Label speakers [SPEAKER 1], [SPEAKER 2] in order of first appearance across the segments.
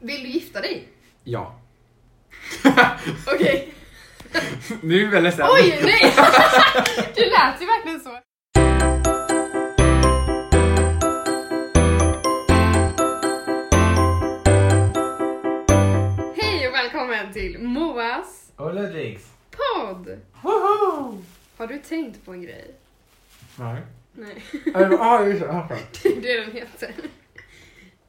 [SPEAKER 1] Vill du gifta dig?
[SPEAKER 2] Ja.
[SPEAKER 1] Okej.
[SPEAKER 2] nu eller sen.
[SPEAKER 1] Oj, nej! det lät ju verkligen så. Hej och välkommen till Moas
[SPEAKER 2] Och Ludvigs.
[SPEAKER 1] podd!
[SPEAKER 2] Woho!
[SPEAKER 1] Har du tänkt på en grej?
[SPEAKER 2] Nej.
[SPEAKER 1] Nej,
[SPEAKER 2] Eller, ah, just det. Ah, fan.
[SPEAKER 1] det är det den heter.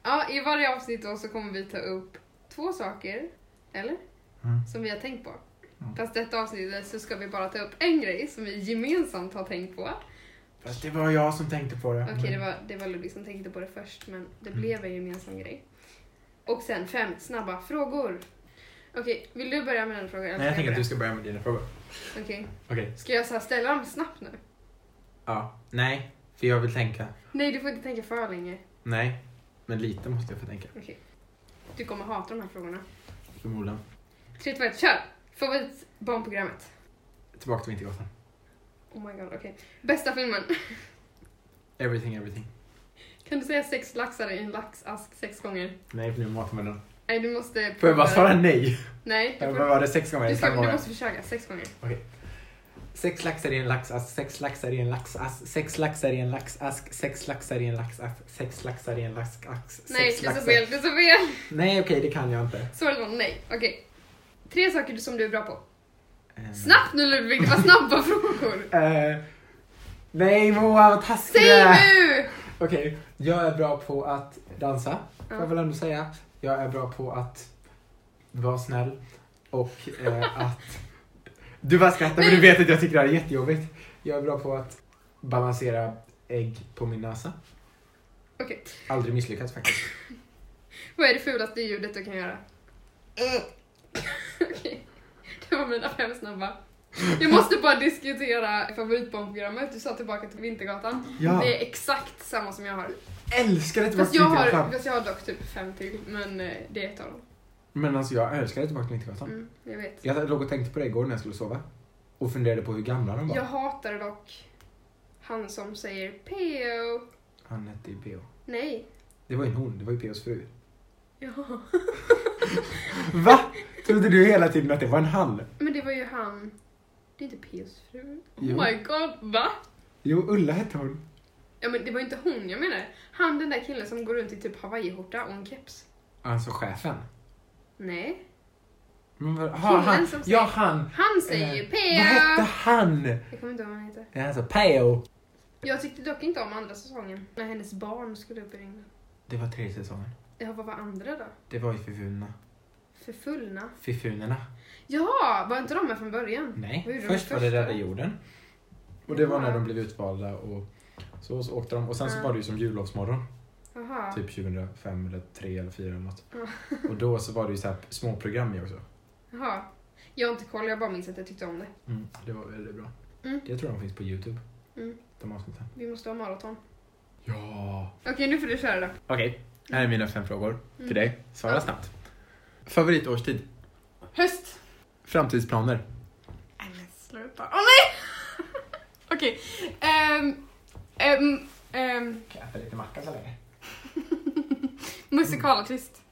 [SPEAKER 1] Ja, i varje avsnitt då så kommer vi ta upp två saker, eller?
[SPEAKER 2] Mm.
[SPEAKER 1] Som vi har tänkt på.
[SPEAKER 2] Mm.
[SPEAKER 1] Fast detta avsnittet så ska vi bara ta upp en grej som vi gemensamt har tänkt på.
[SPEAKER 2] Fast det var jag som tänkte på det.
[SPEAKER 1] Okej, det var, det var Ludvig som tänkte på det först, men det
[SPEAKER 2] Mm.
[SPEAKER 1] blev en gemensam grej. Och sen fem snabba frågor. Okej, vill du börja med den frågan? eller
[SPEAKER 2] Nej, jag
[SPEAKER 1] ska
[SPEAKER 2] tänker att du
[SPEAKER 1] börja?
[SPEAKER 2] ska börja med dina frågor.
[SPEAKER 1] Okej.
[SPEAKER 2] Okej.
[SPEAKER 1] Ska jag så här ställa dem snabbt nu?
[SPEAKER 2] Ja. Nej, för jag vill tänka.
[SPEAKER 1] Nej, du får inte tänka för länge.
[SPEAKER 2] Nej, men lite måste jag få tänka.
[SPEAKER 1] Okej. Du kommer hata de här frågorna.
[SPEAKER 2] Förmodligen.
[SPEAKER 1] 3, 2, 1, kör! Favoritbarnprogrammet.
[SPEAKER 2] Tillbaka till Vintergatan.
[SPEAKER 1] Oh my god, okej. Bästa filmen.
[SPEAKER 2] Everything, everything.
[SPEAKER 1] Kan du säga sex laxar i en laxask sex gånger?
[SPEAKER 2] Nej, för nu matar man den.
[SPEAKER 1] Nej, du måste...
[SPEAKER 2] Får jag bara svara nej?
[SPEAKER 1] Nej, du,
[SPEAKER 2] Jag
[SPEAKER 1] får,
[SPEAKER 2] var det sex gånger?
[SPEAKER 1] du,
[SPEAKER 2] Fem
[SPEAKER 1] ska, du
[SPEAKER 2] gånger.
[SPEAKER 1] måste försöka sex gånger.
[SPEAKER 2] Sex laxar i en laxask, sex laxar i en laxask, sex laxar i en laxask, sex laxar i en laxask, sex laxar i en laxask, sex
[SPEAKER 1] Nej, det är så
[SPEAKER 2] laxar-
[SPEAKER 1] fel, det är så fel!
[SPEAKER 2] Nej, okej, det kan jag inte.
[SPEAKER 1] Svaret var nej. Okej. Tre saker som du är bra på.
[SPEAKER 2] Eh,
[SPEAKER 1] Snabbt nu Ludvig, det var snabba frågor.
[SPEAKER 2] eh, nej, Moa, vad taskig du
[SPEAKER 1] Säg
[SPEAKER 2] är.
[SPEAKER 1] nu!
[SPEAKER 2] Okej, jag är bra på att dansa, får
[SPEAKER 1] Ja.
[SPEAKER 2] jag väl ändå säga. Jag är bra på att vara snäll och eh, att... Du bara skrattar, men du vet att jag tycker det här är jättejobbigt. Jag är bra på att balansera ägg på min näsa.
[SPEAKER 1] Okej.
[SPEAKER 2] Aldrig misslyckats faktiskt.
[SPEAKER 1] Vad är det fulaste ljudet du kan göra? Okej. Det var mina fem snabba. Jag måste bara diskutera favoritbarnprogrammet. Du sa tillbaka till Vintergatan.
[SPEAKER 2] Ja,
[SPEAKER 1] Det är exakt samma som jag har.
[SPEAKER 2] älskar det tillbaka
[SPEAKER 1] Fast
[SPEAKER 2] till
[SPEAKER 1] jag har,
[SPEAKER 2] Vintergatan.
[SPEAKER 1] fast jag har dock typ fem till, men eh, det är ett av dem.
[SPEAKER 2] Men alltså jag älskar det tillbaka till Vintergatan.
[SPEAKER 1] Mm, jag vet.
[SPEAKER 2] Jag låg och tänkte på det igår när jag skulle sova. Och funderade på hur gamla de var.
[SPEAKER 1] Jag hatar dock han som säger PO.
[SPEAKER 2] Han hette ju P.O.
[SPEAKER 1] Nej.
[SPEAKER 2] Det var ju en hon, det var ju P.O.s fru.
[SPEAKER 1] Ja.
[SPEAKER 2] Va? Trodde du hela tiden att det var en han?
[SPEAKER 1] Men det var ju han... Det är inte Pius fru.
[SPEAKER 2] Jo.
[SPEAKER 1] Oh my god, va?
[SPEAKER 2] Jo, Ulla hette hon.
[SPEAKER 1] Ja men det var inte hon jag menar. Han den där killen som går runt i typ hawaiiskjorta och en keps.
[SPEAKER 2] Alltså chefen.
[SPEAKER 1] Nej.
[SPEAKER 2] Men vad, ha,
[SPEAKER 1] Killen
[SPEAKER 2] han,
[SPEAKER 1] som säger-
[SPEAKER 2] ja han.
[SPEAKER 1] Han
[SPEAKER 2] Eh,
[SPEAKER 1] säger ju
[SPEAKER 2] Vad hette
[SPEAKER 1] Peo!
[SPEAKER 2] han?
[SPEAKER 1] Jag kommer inte ihåg vad han heter.
[SPEAKER 2] Nej, Han sa P.O.
[SPEAKER 1] Jag tyckte dock inte om andra säsongen. När hennes barn skulle upp i rymden.
[SPEAKER 2] Det var tredje säsongen.
[SPEAKER 1] Ja, vad var andra då?
[SPEAKER 2] Det var ju Fifuna.
[SPEAKER 1] Förfullna?
[SPEAKER 2] Fifunerna.
[SPEAKER 1] Ja, var inte de med från början? Vad
[SPEAKER 2] Nej,
[SPEAKER 1] gjorde de
[SPEAKER 2] först var det
[SPEAKER 1] första?
[SPEAKER 2] Rädda Jorden. Och det var när
[SPEAKER 1] Ja.
[SPEAKER 2] de blev utvalda och så, så åkte de. Och sen så
[SPEAKER 1] Ja.
[SPEAKER 2] var det ju som jullovsmorgon.
[SPEAKER 1] Jaha.
[SPEAKER 2] Typ 2005 eller 3 eller 4 eller något.
[SPEAKER 1] Ja.
[SPEAKER 2] Och då så var det ju så här småprogram i också.
[SPEAKER 1] Jaha. Jag har inte koll, jag bara minns att jag tyckte om det.
[SPEAKER 2] Det var väldigt bra.
[SPEAKER 1] Mm.
[SPEAKER 2] Jag tror de finns på Youtube.
[SPEAKER 1] Mm.
[SPEAKER 2] De avsnitten.
[SPEAKER 1] Vi måste ha maraton.
[SPEAKER 2] Ja!
[SPEAKER 1] Okej, nu får du köra då.
[SPEAKER 2] Okej, här är mina fem frågor
[SPEAKER 1] Mm.
[SPEAKER 2] till dig. Svara
[SPEAKER 1] Ja.
[SPEAKER 2] snabbt. Favoritårstid?
[SPEAKER 1] Höst!
[SPEAKER 2] Framtidsplaner?
[SPEAKER 1] Nej men sluta. Åh nej! Okej. ehm, ehm, ehm,
[SPEAKER 2] Kan jag äta lite macka så länge?
[SPEAKER 1] musikalartist.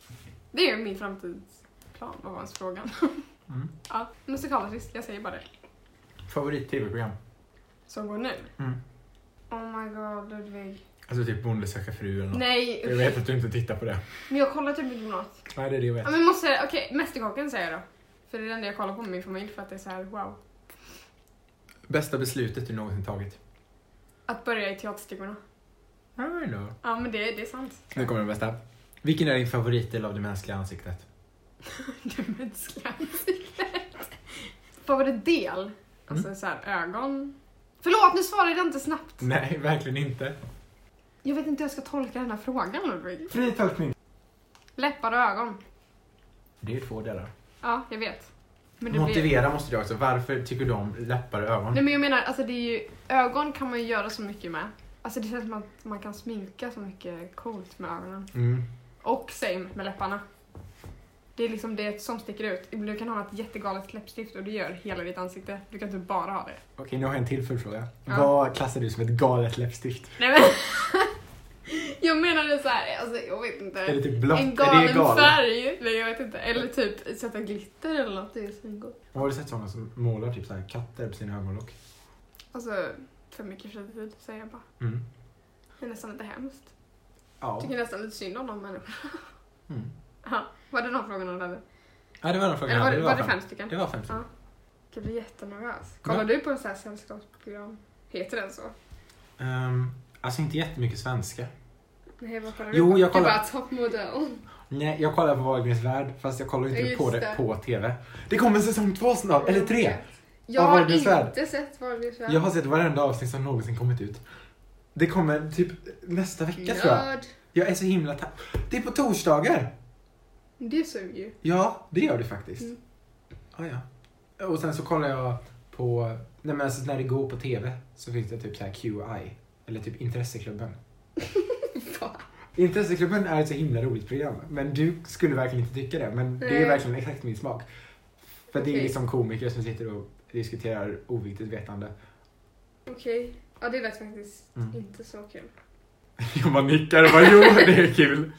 [SPEAKER 1] Det är min framtidsplan, vad var ens frågan?
[SPEAKER 2] Mm.
[SPEAKER 1] ja, musikalartist, jag säger bara det.
[SPEAKER 2] Favorit-tv-program?
[SPEAKER 1] Som går nu.
[SPEAKER 2] Mm.
[SPEAKER 1] Oh my god Ludvig.
[SPEAKER 2] Alltså typ Bonde söker fru eller något.
[SPEAKER 1] Nej,
[SPEAKER 2] Jag vet att du inte tittar på det.
[SPEAKER 1] men jag kollar typ inte på något.
[SPEAKER 2] Nej, det är det jag vet.
[SPEAKER 1] Ja men måste, okej, Mästerkocken säger jag då. För det är det enda jag kollar på med min familj för att det är så här wow.
[SPEAKER 2] Bästa beslutet du någonsin tagit?
[SPEAKER 1] Att börja i teaterstugorna.
[SPEAKER 2] I don't know.
[SPEAKER 1] Ja men det, det är sant.
[SPEAKER 2] Nu kommer den bästa. Vilken är din favoritdel av det mänskliga ansiktet?
[SPEAKER 1] det mänskliga ansiktet. Vad var det del? Alltså så här ögon. Förlåt, nu svarade jag inte snabbt.
[SPEAKER 2] Nej, verkligen inte.
[SPEAKER 1] Jag vet inte hur jag ska tolka den här frågan Ludvig.
[SPEAKER 2] Fri tolkning.
[SPEAKER 1] Läppar och ögon.
[SPEAKER 2] Det är ju två delar.
[SPEAKER 1] Ja, jag vet. Men det blir...
[SPEAKER 2] Motivera måste du också. Varför tycker du om läppar och ögon?
[SPEAKER 1] Nej men jag menar, alltså det är ju... Ögon kan man ju göra så mycket med. Alltså det känns som att man kan sminka så mycket coolt med ögonen.
[SPEAKER 2] Mm.
[SPEAKER 1] Och same med läpparna. Det är liksom det som sticker ut. Du kan ha ett jättegalet läppstift och det gör hela ditt ansikte. Du kan typ bara ha det.
[SPEAKER 2] Okej, nu har jag en till följdfråga.
[SPEAKER 1] Ja.
[SPEAKER 2] Vad klassar du som ett galet läppstift?
[SPEAKER 1] Nej men. jag menade så här, alltså jag vet inte.
[SPEAKER 2] Är det typ blått?
[SPEAKER 1] en
[SPEAKER 2] är
[SPEAKER 1] galen
[SPEAKER 2] det galet?
[SPEAKER 1] färg.
[SPEAKER 3] Nej jag vet inte. Eller typ sätta glitter eller något. Det är svingott.
[SPEAKER 2] Har du sett sådana som målar typ så här katter på sina ögonlock?
[SPEAKER 3] Alltså för mycket fritid säger jag bara.
[SPEAKER 2] Mm.
[SPEAKER 3] Det är nästan lite hemskt.
[SPEAKER 2] Ja.
[SPEAKER 3] Tycker nästan lite synd om de människorna.
[SPEAKER 2] Mm.
[SPEAKER 3] Ja, Var det någon fråga någon hade?
[SPEAKER 2] ja, det var den frågan.
[SPEAKER 3] Eller var
[SPEAKER 2] jag
[SPEAKER 3] det,
[SPEAKER 2] hade.
[SPEAKER 3] var det fem stycken?
[SPEAKER 2] Det var fem.
[SPEAKER 3] Ja. Gud, jag blir jättenervös. Kollar
[SPEAKER 2] Ja.
[SPEAKER 3] du på så här sällskapsprogram? Heter den så?
[SPEAKER 2] Ehm, alltså inte jättemycket svenska.
[SPEAKER 1] Nej, vad kollar
[SPEAKER 2] Jo,
[SPEAKER 1] du på?
[SPEAKER 2] jag kollar-
[SPEAKER 1] Du bara toppmodell.
[SPEAKER 2] Nej, jag kollar på Wahlgrens värld fast jag kollar inte
[SPEAKER 1] Ja, just
[SPEAKER 2] på det,
[SPEAKER 1] det.
[SPEAKER 2] på TV. Det kommer säsong två snart, eller tre!
[SPEAKER 1] Jag
[SPEAKER 2] Av
[SPEAKER 1] har
[SPEAKER 2] Wahlgrens värld.
[SPEAKER 1] inte sett Wahlgrens värld.
[SPEAKER 2] Jag har sett varenda avsnitt som någonsin kommit ut. Det kommer typ nästa vecka tror jag.
[SPEAKER 1] Nörd.
[SPEAKER 2] Jag är så himla tapp. Det är på torsdagar!
[SPEAKER 1] Det suger ju.
[SPEAKER 2] Ja, det gör det faktiskt.
[SPEAKER 1] Mm.
[SPEAKER 2] Ah, ja. Och sen så kollar jag på, nej men alltså när det går på TV så finns det typ så här QI. Eller typ Intresseklubben.
[SPEAKER 1] Va?
[SPEAKER 2] Intresseklubben är ett så himla roligt program. Men du skulle verkligen inte tycka det. Men det
[SPEAKER 1] Nej.
[SPEAKER 2] är verkligen exakt min smak. För det är
[SPEAKER 1] Okej.
[SPEAKER 2] liksom komiker som sitter och diskuterar oviktigt vetande.
[SPEAKER 1] Okej. Ja, det lät faktiskt
[SPEAKER 2] Mm.
[SPEAKER 1] inte så kul.
[SPEAKER 2] Jag bara nickar och bara jo, det är kul.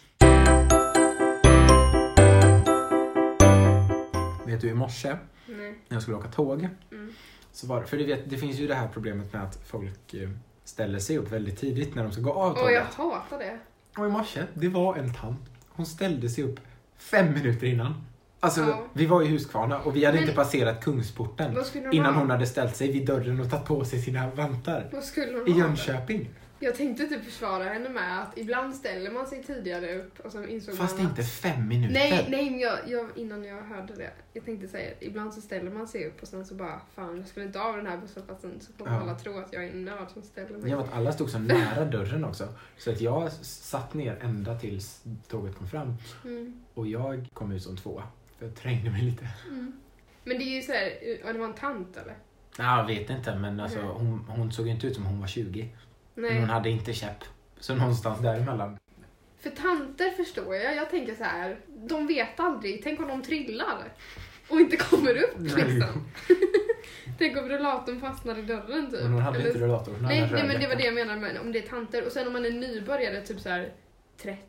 [SPEAKER 2] Vet du, i morse
[SPEAKER 1] Nej.
[SPEAKER 2] när jag skulle åka tåg
[SPEAKER 1] Mm.
[SPEAKER 2] så var det, för du vet, det finns ju det här problemet med att folk eh, ställer sig upp väldigt tidigt när de ska gå av
[SPEAKER 1] Åh, jag
[SPEAKER 2] tåget.
[SPEAKER 1] hatar det.
[SPEAKER 2] Och i morse, det var en tant. Hon ställde sig upp fem minuter innan. Alltså,
[SPEAKER 1] Ja.
[SPEAKER 2] vi var i Huskvarna och vi hade
[SPEAKER 1] Men-
[SPEAKER 2] inte passerat Kungsporten
[SPEAKER 1] Vad skulle de
[SPEAKER 2] innan
[SPEAKER 1] ha?
[SPEAKER 2] hon hade ställt sig vid dörren och tagit på sig sina vantar.
[SPEAKER 1] Vad skulle
[SPEAKER 2] I
[SPEAKER 1] hon ha?
[SPEAKER 2] Jönköping.
[SPEAKER 1] Jag tänkte typ försvara henne med att ibland ställer man sig tidigare upp och sen insåg
[SPEAKER 2] Fast
[SPEAKER 1] man att...
[SPEAKER 2] inte fem minuter.
[SPEAKER 1] Nej, nej, men jag, jag, innan jag hörde det. Jag tänkte säga, ibland så ställer man sig upp och sen så bara, fan jag skulle inte av den här busshållplatsen så kommer
[SPEAKER 2] Ja.
[SPEAKER 1] alla tro att jag är en nörd som ställer mig.
[SPEAKER 2] Ja, men att alla stod så nära dörren också. Så att jag s- satt ner ända tills tåget kom fram.
[SPEAKER 1] Mm,
[SPEAKER 2] Och jag kom ut som tvåa. För jag trängde mig lite.
[SPEAKER 1] mm. Men det är ju såhär, ja det var en tant eller?
[SPEAKER 2] Ja, jag vet inte, men alltså,
[SPEAKER 1] Nej.
[SPEAKER 2] hon, hon såg ju inte ut som hon var 20. Men
[SPEAKER 1] Nej.
[SPEAKER 2] hon hade inte käpp. Så någonstans däremellan.
[SPEAKER 1] För tanter förstår jag, jag tänker så här, de vet aldrig, tänk om de trillar och inte kommer upp
[SPEAKER 2] Nej.
[SPEAKER 1] liksom. tänk om rullatorn fastnar i dörren typ.
[SPEAKER 2] Men hon hade
[SPEAKER 1] Eller-
[SPEAKER 2] inte rullator. Hon
[SPEAKER 1] Nej,
[SPEAKER 2] hade
[SPEAKER 1] nej men
[SPEAKER 2] rörjacka.
[SPEAKER 1] det var det jag menade med om det är tanter. Och sen om man är nybörjare, typ så här 13,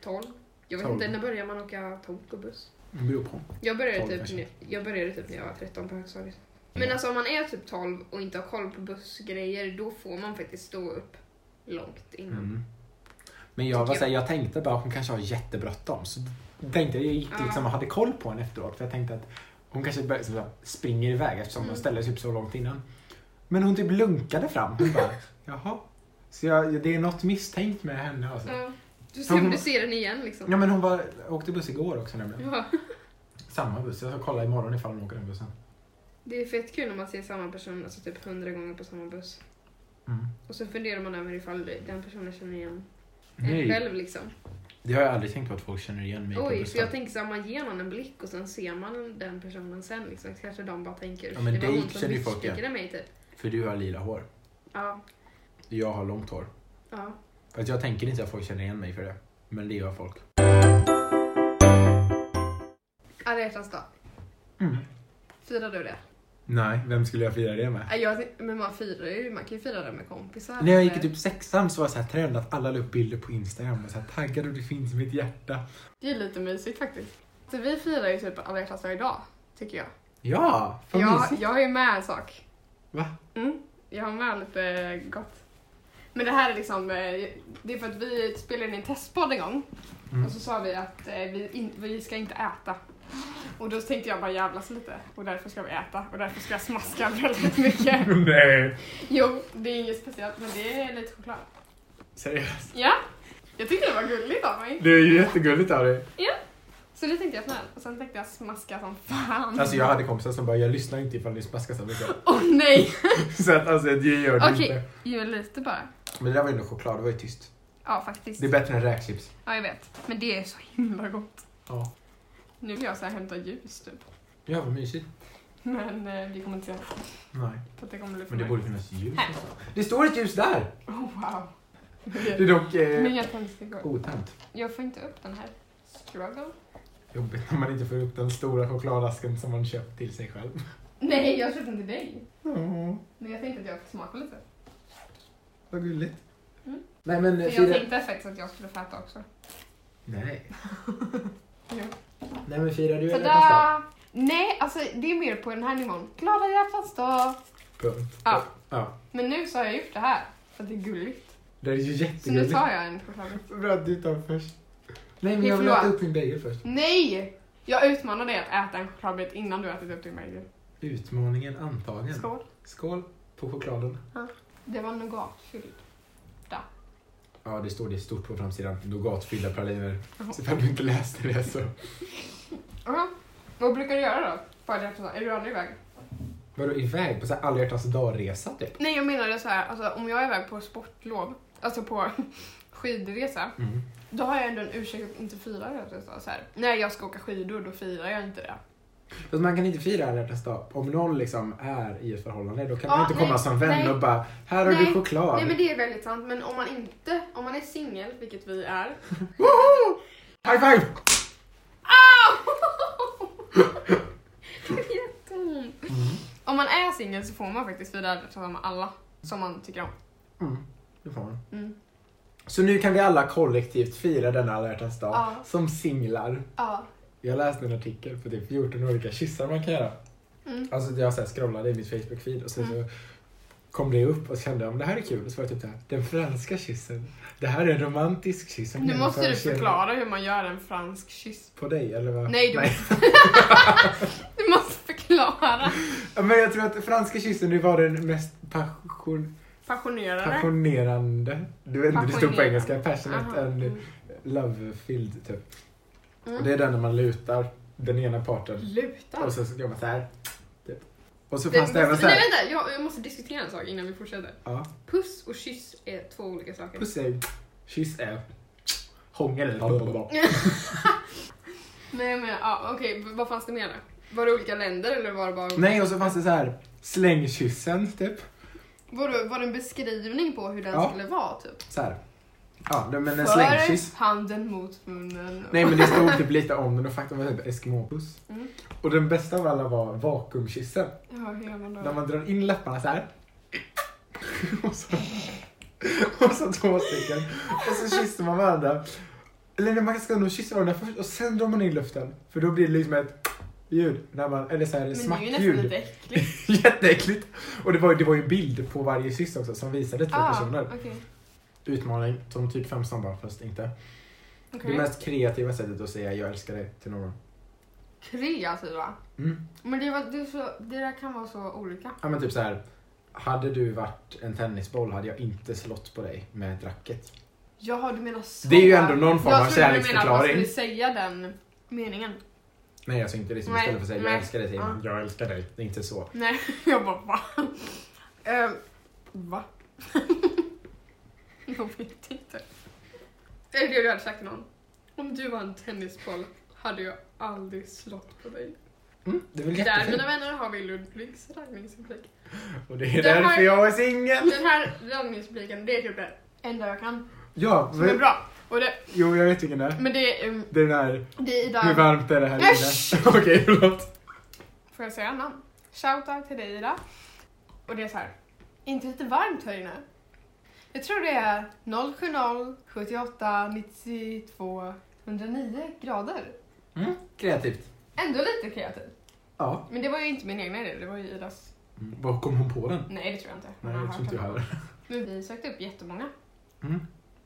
[SPEAKER 1] 12. Jag vet
[SPEAKER 2] Tolv.
[SPEAKER 1] inte, när börjar man åka tåg och buss?
[SPEAKER 2] Det beror på.
[SPEAKER 1] Jag började,
[SPEAKER 2] Tolv
[SPEAKER 1] typ,
[SPEAKER 2] kanske. Mm.
[SPEAKER 1] när- jag började typ när jag var 13 på högstadiet. Men
[SPEAKER 2] Ja.
[SPEAKER 1] alltså om man är typ 12 och inte har koll på bussgrejer, då får man faktiskt stå upp långt innan.
[SPEAKER 2] Mm. Men jag, var
[SPEAKER 1] Tycker
[SPEAKER 2] såhär, jag tänkte bara att hon kanske har jättebråttom. Så tänkte jag, jag gick
[SPEAKER 1] Ja.
[SPEAKER 2] liksom och hade koll på henne efteråt. För jag tänkte att hon kanske bör, så här, springer iväg eftersom
[SPEAKER 1] Mm.
[SPEAKER 2] hon ställde sig upp så långt innan. Men hon typ lunkade fram. Hon bara, jaha. Så jag, det är något misstänkt med henne. Alltså.
[SPEAKER 1] Ja. Du ser om
[SPEAKER 2] Hon-
[SPEAKER 1] du ser den igen liksom.
[SPEAKER 2] Ja men hon var, åkte buss igår också nämligen.
[SPEAKER 1] Ja.
[SPEAKER 2] Samma buss. Jag ska kolla imorgon ifall hon åker den bussen.
[SPEAKER 1] Det är fett kul när man ser samma person, alltså typ hundra gånger på samma buss.
[SPEAKER 2] Mm.
[SPEAKER 1] Och så funderar man över ifall den personen känner igen en själv liksom.
[SPEAKER 2] det har jag aldrig tänkt på att folk känner igen mig på
[SPEAKER 1] Oj, för
[SPEAKER 2] bussen.
[SPEAKER 1] jag tänker så här, man ger någon en blick och sen ser man den personen sen liksom. Kanske de bara tänker,
[SPEAKER 2] Ja, men
[SPEAKER 1] det var
[SPEAKER 2] dig
[SPEAKER 1] hon som
[SPEAKER 2] känner ju folk igen."
[SPEAKER 1] misslyckade mig typ.
[SPEAKER 2] För du har lila hår.
[SPEAKER 1] Ja,
[SPEAKER 2] Jag har långt hår.
[SPEAKER 1] ja.
[SPEAKER 2] Fast jag tänker inte att folk känner igen mig för det. Men det gör folk.
[SPEAKER 1] Alla hjärtans dag.
[SPEAKER 2] Mm.
[SPEAKER 1] Firar du det?
[SPEAKER 2] Nej, vem skulle jag fira det med?
[SPEAKER 1] Ja, Jag, men man firar ju, man kan ju fira det med kompisar.
[SPEAKER 2] När jag gick i typ sexan så var jag så här trend att alla la upp bilder på Instagram och så här taggade och det finns mitt hjärta.
[SPEAKER 3] Det är lite mysigt faktiskt. Så vi firar ju typ alla hjärtans dag idag, tycker jag.
[SPEAKER 2] Ja, vad
[SPEAKER 3] Jag,
[SPEAKER 2] mysigt.
[SPEAKER 3] jag har ju med en sak.
[SPEAKER 2] Va?
[SPEAKER 3] Mm, jag har med lite gott. Men det här är liksom, eh, det är för att vi spelade in en testpodd en gång
[SPEAKER 2] Mm.
[SPEAKER 3] och så sa vi att eh, vi, in, vi ska inte äta. Och då tänkte jag bara jävlas lite och därför ska vi äta och därför ska jag smaska väldigt mycket.
[SPEAKER 2] Nej.
[SPEAKER 3] Jo, det är inget speciellt men det är lite choklad.
[SPEAKER 2] Seriöst?
[SPEAKER 3] Ja, jag tyckte det var gulligt av mig.
[SPEAKER 2] Det är ju jättegulligt av dig.
[SPEAKER 3] Mm. Så det tänkte jag snäll och sen tänkte jag smaska som fan.
[SPEAKER 2] Alltså jag hade kompisar som bara, jag lyssnar inte ifall ni smaskar så mycket.
[SPEAKER 3] Åh nej!
[SPEAKER 2] Så att alltså det gör det
[SPEAKER 3] Okej.
[SPEAKER 2] inte.
[SPEAKER 3] Ge mig lite bara.
[SPEAKER 2] Men det där var ju ändå choklad, det var ju tyst.
[SPEAKER 3] Ja, faktiskt.
[SPEAKER 2] Det är bättre än räkchips.
[SPEAKER 3] Ja, jag vet. Men det är så himla gott.
[SPEAKER 2] Ja.
[SPEAKER 3] Nu vill jag så här hämta ljus typ.
[SPEAKER 2] Ja, vad mysigt.
[SPEAKER 3] Men eh, vi kommer inte se något.
[SPEAKER 2] Nej.
[SPEAKER 3] För att det kommer bli för
[SPEAKER 2] Men det
[SPEAKER 3] mörkt.
[SPEAKER 2] borde finnas ljus.
[SPEAKER 3] Här.
[SPEAKER 2] Det står ett ljus där!
[SPEAKER 3] Oh, wow.
[SPEAKER 2] Det är dock
[SPEAKER 3] Men
[SPEAKER 2] eh,
[SPEAKER 3] jag tänkte gå.
[SPEAKER 2] otänt.
[SPEAKER 3] Jag får inte upp den här. Struggle.
[SPEAKER 2] Jobbigt när man inte får upp den stora chokladasken som man köpt till sig själv.
[SPEAKER 3] Nej, jag köpte inte dig.
[SPEAKER 2] Åh,
[SPEAKER 3] Men jag tänkte att jag fick smaka lite.
[SPEAKER 2] vad gulligt.
[SPEAKER 3] Mm.
[SPEAKER 2] Nej men
[SPEAKER 3] För
[SPEAKER 2] fira-
[SPEAKER 3] jag tänkte faktiskt att jag skulle få äta också.
[SPEAKER 2] Nej.
[SPEAKER 3] Jo.
[SPEAKER 2] Nej men firar du alla hjärtans dag?
[SPEAKER 1] Tada! Nej, alltså det är mer på den här nivån. Glada hjärtans dag!
[SPEAKER 2] Punkt.
[SPEAKER 1] Ja.
[SPEAKER 2] ja.
[SPEAKER 1] Men nu så har jag gjort det här. För att det är gulligt.
[SPEAKER 2] Det är ju
[SPEAKER 1] Så nu
[SPEAKER 2] jättegulligt.
[SPEAKER 1] tar jag en chokladbit.
[SPEAKER 2] Bra att du tar först. Nej men
[SPEAKER 1] Nej,
[SPEAKER 2] jag vill äta
[SPEAKER 1] förlåt.
[SPEAKER 2] upp min bagel först.
[SPEAKER 1] Nej! Jag utmanar dig att äta en chokladbit innan du ätit upp din bagel.
[SPEAKER 2] Utmaningen antagen.
[SPEAKER 1] Skål!
[SPEAKER 2] Skål på chokladen.
[SPEAKER 1] Det var nougatfylld.
[SPEAKER 2] Ja, det står det stort på framsidan. Nougatfyllda praliner. Så ifall du inte läste det så.
[SPEAKER 1] Jaha. Vad brukar du göra då? På alla hjärtans dag? Är du aldrig iväg?
[SPEAKER 2] Vadå iväg på så här alla hjärtans dag-resa typ?
[SPEAKER 1] Nej, jag menade så här, alltså, om jag är iväg på sportlov, alltså på skidresa,
[SPEAKER 2] Mm.
[SPEAKER 1] då har jag ändå en ursäkt att inte fira det. alltså, Så här. Nej, jag ska åka skidor, då firar jag inte det.
[SPEAKER 2] Fast man kan inte fira alla hjärtans dag. Om någon liksom är i ett förhållande då kan
[SPEAKER 4] Ja,
[SPEAKER 2] man inte komma
[SPEAKER 4] nej,
[SPEAKER 2] som vän
[SPEAKER 4] nej.
[SPEAKER 2] och bara Här har du
[SPEAKER 4] Nej,
[SPEAKER 2] choklad.
[SPEAKER 4] Nej men det är väldigt sant, men om man inte, om man är singel, vilket vi är.
[SPEAKER 2] Woho! High five!
[SPEAKER 4] Au! Det är jätteont.
[SPEAKER 1] Om man är singel så får man faktiskt fira det tillsammans med alla som man tycker om.
[SPEAKER 2] Mm. Det får man.
[SPEAKER 1] Mm.
[SPEAKER 2] Så nu kan vi alla kollektivt fira denna alla hjärtans dag
[SPEAKER 1] Ja.
[SPEAKER 2] som singlar.
[SPEAKER 1] Ja.
[SPEAKER 2] Jag läste en artikel på typ 14 olika kyssar man kan göra.
[SPEAKER 1] Mm.
[SPEAKER 2] Alltså jag så här scrollade i mitt Facebook-feed och sen så kom det upp och så kände jag om det här är kul. Och så var det typ det här, den franska kyssen. Det här är en romantisk kyss. som
[SPEAKER 1] Nu måste du
[SPEAKER 2] genomförs genom-
[SPEAKER 1] förklara hur man gör en fransk kyss.
[SPEAKER 2] På dig eller vad?
[SPEAKER 1] Nej, du måste, du måste förklara.
[SPEAKER 2] Ja, Men jag tror att franska kyssen det var den mest passion,
[SPEAKER 1] Passionerare.
[SPEAKER 2] passionerande. Du vet inte, det stod på
[SPEAKER 1] Passionerande.
[SPEAKER 2] engelska. Passionate
[SPEAKER 1] Aha.
[SPEAKER 2] and
[SPEAKER 1] Mm.
[SPEAKER 2] love-filled typ.
[SPEAKER 4] Mm.
[SPEAKER 2] Och det är den när man lutar den ena parten
[SPEAKER 1] Luta.
[SPEAKER 2] och sen så gör man så här. Typ. Och så
[SPEAKER 4] Det
[SPEAKER 2] fanns
[SPEAKER 4] måste,
[SPEAKER 2] det även
[SPEAKER 4] nej
[SPEAKER 2] så här.
[SPEAKER 4] vänta, jag, jag måste diskutera en sak innan vi fortsätter.
[SPEAKER 2] Ja,
[SPEAKER 4] Puss och kyss är två olika saker.
[SPEAKER 2] puss är kyss är hångel.
[SPEAKER 4] Nej men ja, okej, v- vad fanns det mer då? Var det olika länder eller var det bara...
[SPEAKER 2] Nej, och så fanns det så här slängkyssen typ.
[SPEAKER 4] Var det, var det en beskrivning på hur den
[SPEAKER 2] Ja.
[SPEAKER 4] skulle vara typ?
[SPEAKER 2] Så här. Ja, det- men en slängkyss.
[SPEAKER 1] För handen mot munnen.
[SPEAKER 2] Nej men det stod typ lite om den och faktum var typ eskimåpuss.
[SPEAKER 1] Mm.
[SPEAKER 2] Och den bästa av alla var vakuumkyssen.
[SPEAKER 1] Ja, hur gör man då?
[SPEAKER 2] När man drar in läpparna så här. Och så, och så två stycken. Och så kysser man varandra. Eller nej, man ska nog kyssa varandra först och sen drar man in luften. För då blir det liksom ett ljud. När man, eller så här,
[SPEAKER 1] Men det är ju nästan
[SPEAKER 2] smackljud.
[SPEAKER 1] lite äckligt.
[SPEAKER 2] Jätteäckligt. Och det var, ju- det var ju en bild på varje kyss också som visade två
[SPEAKER 1] Ah,
[SPEAKER 2] personer.
[SPEAKER 1] okej.
[SPEAKER 2] Utmaning som typ fem snabba fast inte.
[SPEAKER 1] Okej.
[SPEAKER 2] Det mest kreativa sättet att säga jag älskar dig till någon.
[SPEAKER 1] Kreativa.
[SPEAKER 2] Mm.
[SPEAKER 1] Men det, var, det, är så, det där kan vara så olika.
[SPEAKER 2] Ja men typ så här. Hade du varit en tennisboll hade jag inte slått på dig med ett racket.
[SPEAKER 1] Jaha, du menar så.
[SPEAKER 2] Det är ju ändå någon form av
[SPEAKER 1] Jag trodde du menade att man
[SPEAKER 2] kärleksförklaring.
[SPEAKER 1] skulle säga den meningen.
[SPEAKER 2] Nej alltså inte liksom
[SPEAKER 1] Nej,
[SPEAKER 2] istället för att säga jag
[SPEAKER 1] nej.
[SPEAKER 2] älskar dig säger man jag älskar dig. Det är inte så.
[SPEAKER 1] Nej, jag bara va? Ehm, va? jag vet inte.
[SPEAKER 4] Är det det du hade sagt till någon? Om du var en tennisboll hade jag aldrig slått på dig.
[SPEAKER 2] Mm, det är väl
[SPEAKER 4] Där
[SPEAKER 2] jättefint.
[SPEAKER 4] mina vänner har vi Ludvigs raggningsreplik.
[SPEAKER 2] Och det är
[SPEAKER 4] Det här-
[SPEAKER 2] därför jag är singel.
[SPEAKER 4] Den här raggningsrepliken, det är typ det
[SPEAKER 1] Enda jag kan.
[SPEAKER 2] Ja,
[SPEAKER 1] Som är
[SPEAKER 2] men,
[SPEAKER 1] bra. Och det,
[SPEAKER 2] jo jag vet vilken det är.
[SPEAKER 1] men det är... ehm,
[SPEAKER 2] Det är den här,
[SPEAKER 1] det är
[SPEAKER 2] hur
[SPEAKER 1] Ida.
[SPEAKER 2] varmt är det här
[SPEAKER 1] Äsch!
[SPEAKER 2] inne? Okej förlåt.
[SPEAKER 1] Får jag säga namn? Shoutout till dig Ida. Och det är så här. Inte lite varmt här inne. Jag tror det är 070 78 92 109 grader.
[SPEAKER 2] Mm, kreativt.
[SPEAKER 1] Ändå lite kreativ.
[SPEAKER 2] Ja.
[SPEAKER 1] Men det var ju inte min egna idé, det var ju Idas.
[SPEAKER 2] Mm, Var kom hon på den?
[SPEAKER 1] Nej, det tror jag inte. Hon
[SPEAKER 2] Nej
[SPEAKER 1] har
[SPEAKER 2] det
[SPEAKER 1] hört
[SPEAKER 2] tror inte jag
[SPEAKER 1] den.
[SPEAKER 2] heller.
[SPEAKER 1] Men vi sökte upp jättemånga.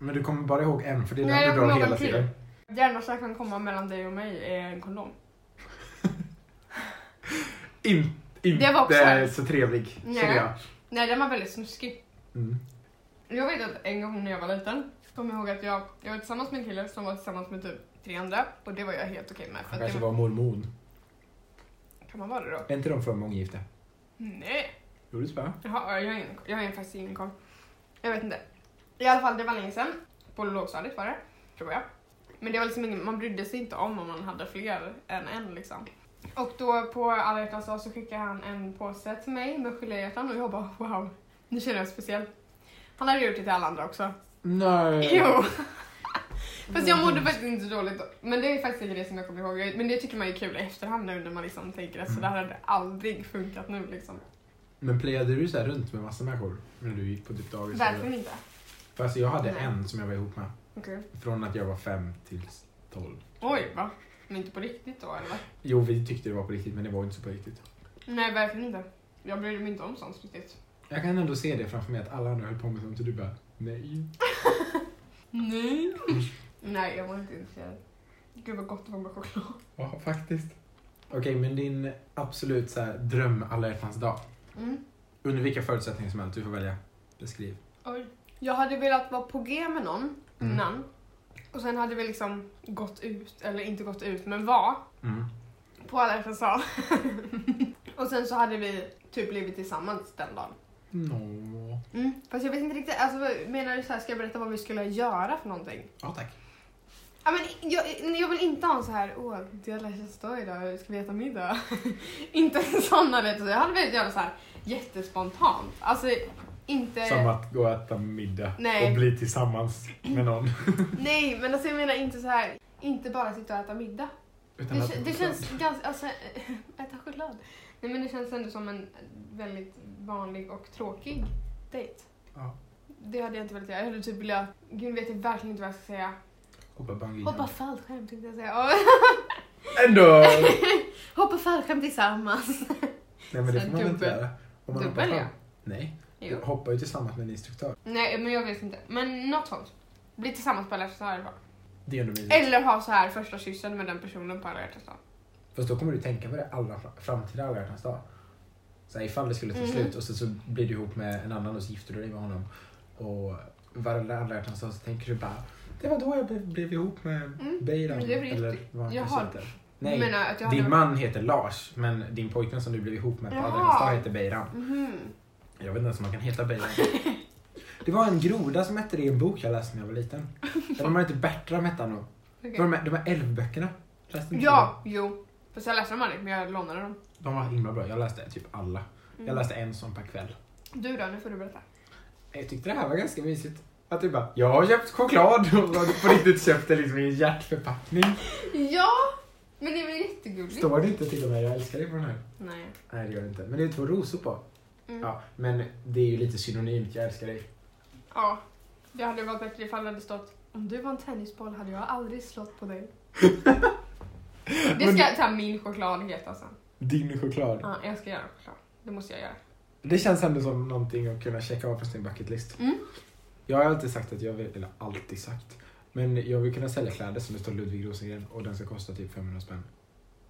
[SPEAKER 2] Men du kommer bara ihåg en för det är
[SPEAKER 1] Nej,
[SPEAKER 2] den
[SPEAKER 1] jag
[SPEAKER 2] du
[SPEAKER 1] kommer
[SPEAKER 2] drar
[SPEAKER 1] ihåg
[SPEAKER 2] hela
[SPEAKER 1] en till.
[SPEAKER 2] tiden.
[SPEAKER 1] Det enda som kan komma mellan dig och mig är en kondom.
[SPEAKER 2] In, inte
[SPEAKER 1] Det var också här.
[SPEAKER 2] så trevlig
[SPEAKER 1] Nej.
[SPEAKER 2] känner jag.
[SPEAKER 1] Nej, den var väldigt snuskig.
[SPEAKER 2] Mm.
[SPEAKER 1] Jag vet att en gång när jag var liten, kommer jag ihåg att jag, jag var tillsammans med en kille som var tillsammans med typ tre andra. Och det var jag helt okej med. För
[SPEAKER 2] Han
[SPEAKER 1] att det
[SPEAKER 2] kanske
[SPEAKER 1] var...
[SPEAKER 2] var mormon.
[SPEAKER 1] Kan man vara det då?
[SPEAKER 2] Är inte de från månggifte?
[SPEAKER 1] Nej.
[SPEAKER 2] Jo, det tror jag.
[SPEAKER 1] Jaha, jag har ingen, jag har faktiskt ingen koll. Jag vet inte. I alla fall, det var länge sedan. På lågstadiet var det, tror jag. Men det var liksom ingen, man brydde sig inte om om man hade fler än en liksom. Och då på alla hjärtans dag så skickade han en påse till mig med geléhjärtan och jag bara wow, nu känner jag mig speciell. Han hade gjort det till alla andra också.
[SPEAKER 2] Nej.
[SPEAKER 1] Jo! Fast jag mådde faktiskt inte så dåligt då. Men det är faktiskt inte det som jag kommer ihåg. Jag- Men det tycker man är kul i efterhand nu när man liksom tänker att så där hade aldrig funkat nu liksom.
[SPEAKER 2] Men playade du så här runt med massa människor när du gick på typ dagis?
[SPEAKER 1] Verkligen inte.
[SPEAKER 2] För alltså jag hade
[SPEAKER 1] Nej.
[SPEAKER 2] en som jag var ihop med.
[SPEAKER 1] Okej.
[SPEAKER 2] Från att jag var fem till tolv.
[SPEAKER 1] Oj, va? Men inte på riktigt då eller? vad?
[SPEAKER 2] Jo, vi tyckte det var på riktigt, men det var inte så på riktigt.
[SPEAKER 1] Nej, verkligen inte. Jag bryr mig inte om sånt riktigt.
[SPEAKER 2] Jag kan ändå se det framför mig att alla andra höll på med sånt och du bara nej.
[SPEAKER 1] Nej. Nej, jag var inte intresserad. Gud vad gott det var med choklad.
[SPEAKER 2] Ja, faktiskt. Okej, men din absolut så här, dröm alla hjärtans dag.
[SPEAKER 1] Mm.
[SPEAKER 2] Under vilka förutsättningar som helst, du får välja. Beskriv.
[SPEAKER 1] Oj. Jag hade velat vara på G med någon
[SPEAKER 2] Mm.
[SPEAKER 1] innan. Och sen hade vi liksom gått ut, eller inte gått ut, men var
[SPEAKER 2] Mm.
[SPEAKER 1] på alla FSA. och sen så hade vi typ blivit tillsammans den dagen.
[SPEAKER 2] No.
[SPEAKER 1] Fast jag vet inte riktigt, alltså vad- menar du så här, ska jag berätta vad vi skulle göra för någonting?
[SPEAKER 2] Ja, tack.
[SPEAKER 1] Ja, men jag, jag vill inte ha en så här, åh, det är alla idag, ska vi äta middag? inte en sån här, vet du. jag hade velat göra så här jättespontant. Alltså inte...
[SPEAKER 2] Som att gå och äta middag
[SPEAKER 1] Nej.
[SPEAKER 2] och bli tillsammans med någon.
[SPEAKER 1] Nej, men alltså jag menar inte så här, inte bara sitta och äta middag. Det,
[SPEAKER 2] Utan att-
[SPEAKER 1] kä- det känns ganska, alltså äta choklad. Nej men det känns ändå som en väldigt vanlig och tråkig dejt.
[SPEAKER 2] Ja.
[SPEAKER 1] Det hade jag inte velat göra. Jag hade typ velat, gud nu vet jag verkligen inte vad jag ska säga.
[SPEAKER 2] Hoppa bungee.
[SPEAKER 1] Hoppa fallskärm tänkte jag säga.
[SPEAKER 2] Ändå!
[SPEAKER 1] Hoppa fallskärm tillsammans.
[SPEAKER 2] Nej, men det
[SPEAKER 1] Så
[SPEAKER 2] får man inte
[SPEAKER 1] dubbel-
[SPEAKER 2] göra. Om man hoppar
[SPEAKER 1] dubbel,
[SPEAKER 2] fram.
[SPEAKER 1] ja.
[SPEAKER 2] Nej, du
[SPEAKER 1] Jo.
[SPEAKER 2] hoppar ju tillsammans med en instruktör.
[SPEAKER 1] Nej men jag vet inte. Men något sånt. Bli tillsammans på alla hjärtans dag i alla fall.
[SPEAKER 2] Det är ändå mysigt.
[SPEAKER 1] Eller ha så här första kyssen med den personen på alla hjärtans dag.
[SPEAKER 2] Fast då kommer du tänka på det alla fra- framtida alla hjärtans dag. Så här, ifall det skulle ta
[SPEAKER 1] Mhm.
[SPEAKER 2] slut och så, så blir du ihop med en annan och så gifter du dig med honom. Och varje alla hjärtans dag så tänker du bara det var då jag blev, blev ihop med
[SPEAKER 1] Mm,
[SPEAKER 2] Beiran.
[SPEAKER 1] men det är väl
[SPEAKER 2] eller
[SPEAKER 1] riktigt.
[SPEAKER 2] vad han
[SPEAKER 1] Jaha.
[SPEAKER 2] kanske heter. Nej,
[SPEAKER 1] Jag menar att jag
[SPEAKER 2] din
[SPEAKER 1] hade...
[SPEAKER 2] man heter Lars men din pojkvän som du blev ihop med på alla
[SPEAKER 1] Jaha.
[SPEAKER 2] hjärtans dag heter Beiran.
[SPEAKER 1] Mhm.
[SPEAKER 2] Jag vet inte ens om man kan heta Beiran. Det var en groda som hette det i en bok jag läste när jag var liten. Eller om man hette Bertram hette han nog.
[SPEAKER 1] Okej.
[SPEAKER 2] Var de här- De här älvböckerna. Läste inte du?
[SPEAKER 1] Ja, jo. Fast jag läste dem aldrig, men jag lånade dem.
[SPEAKER 2] De var himla bra. Jag läste typ alla.
[SPEAKER 1] Mm.
[SPEAKER 2] Jag läste en sån per kväll.
[SPEAKER 1] Du då, nu får du berätta.
[SPEAKER 2] Jag tyckte det här var ganska mysigt. Att du bara, jag har köpt choklad och har på riktigt köpt det liksom i en hjärtförpackning.
[SPEAKER 1] Mm. Ja, men det är väl jättegulligt?
[SPEAKER 2] Står det inte till och med jag älskar dig på den här?
[SPEAKER 1] Nej.
[SPEAKER 2] Nej det gör det inte. Men det är två rosor på.
[SPEAKER 1] Mm. Ja.
[SPEAKER 2] Ja, men det är ju lite synonymt, jag älskar dig.
[SPEAKER 1] det hade varit bättre ifall det hade stått om du var en tennisboll hade jag aldrig slått på dig. Det
[SPEAKER 2] Men-
[SPEAKER 1] ska jag ta min choklad heta sen.
[SPEAKER 2] Din choklad.
[SPEAKER 1] Ja, jag ska göra choklad. Det måste jag göra.
[SPEAKER 2] Det känns ändå som någonting att kunna checka av på sin bucket list.
[SPEAKER 1] Mm.
[SPEAKER 2] Jag har alltid sagt att jag vill, eller alltid sagt, men jag vill kunna sälja kläder som det står Ludvig Rosengren och den ska kosta typ 500 spänn.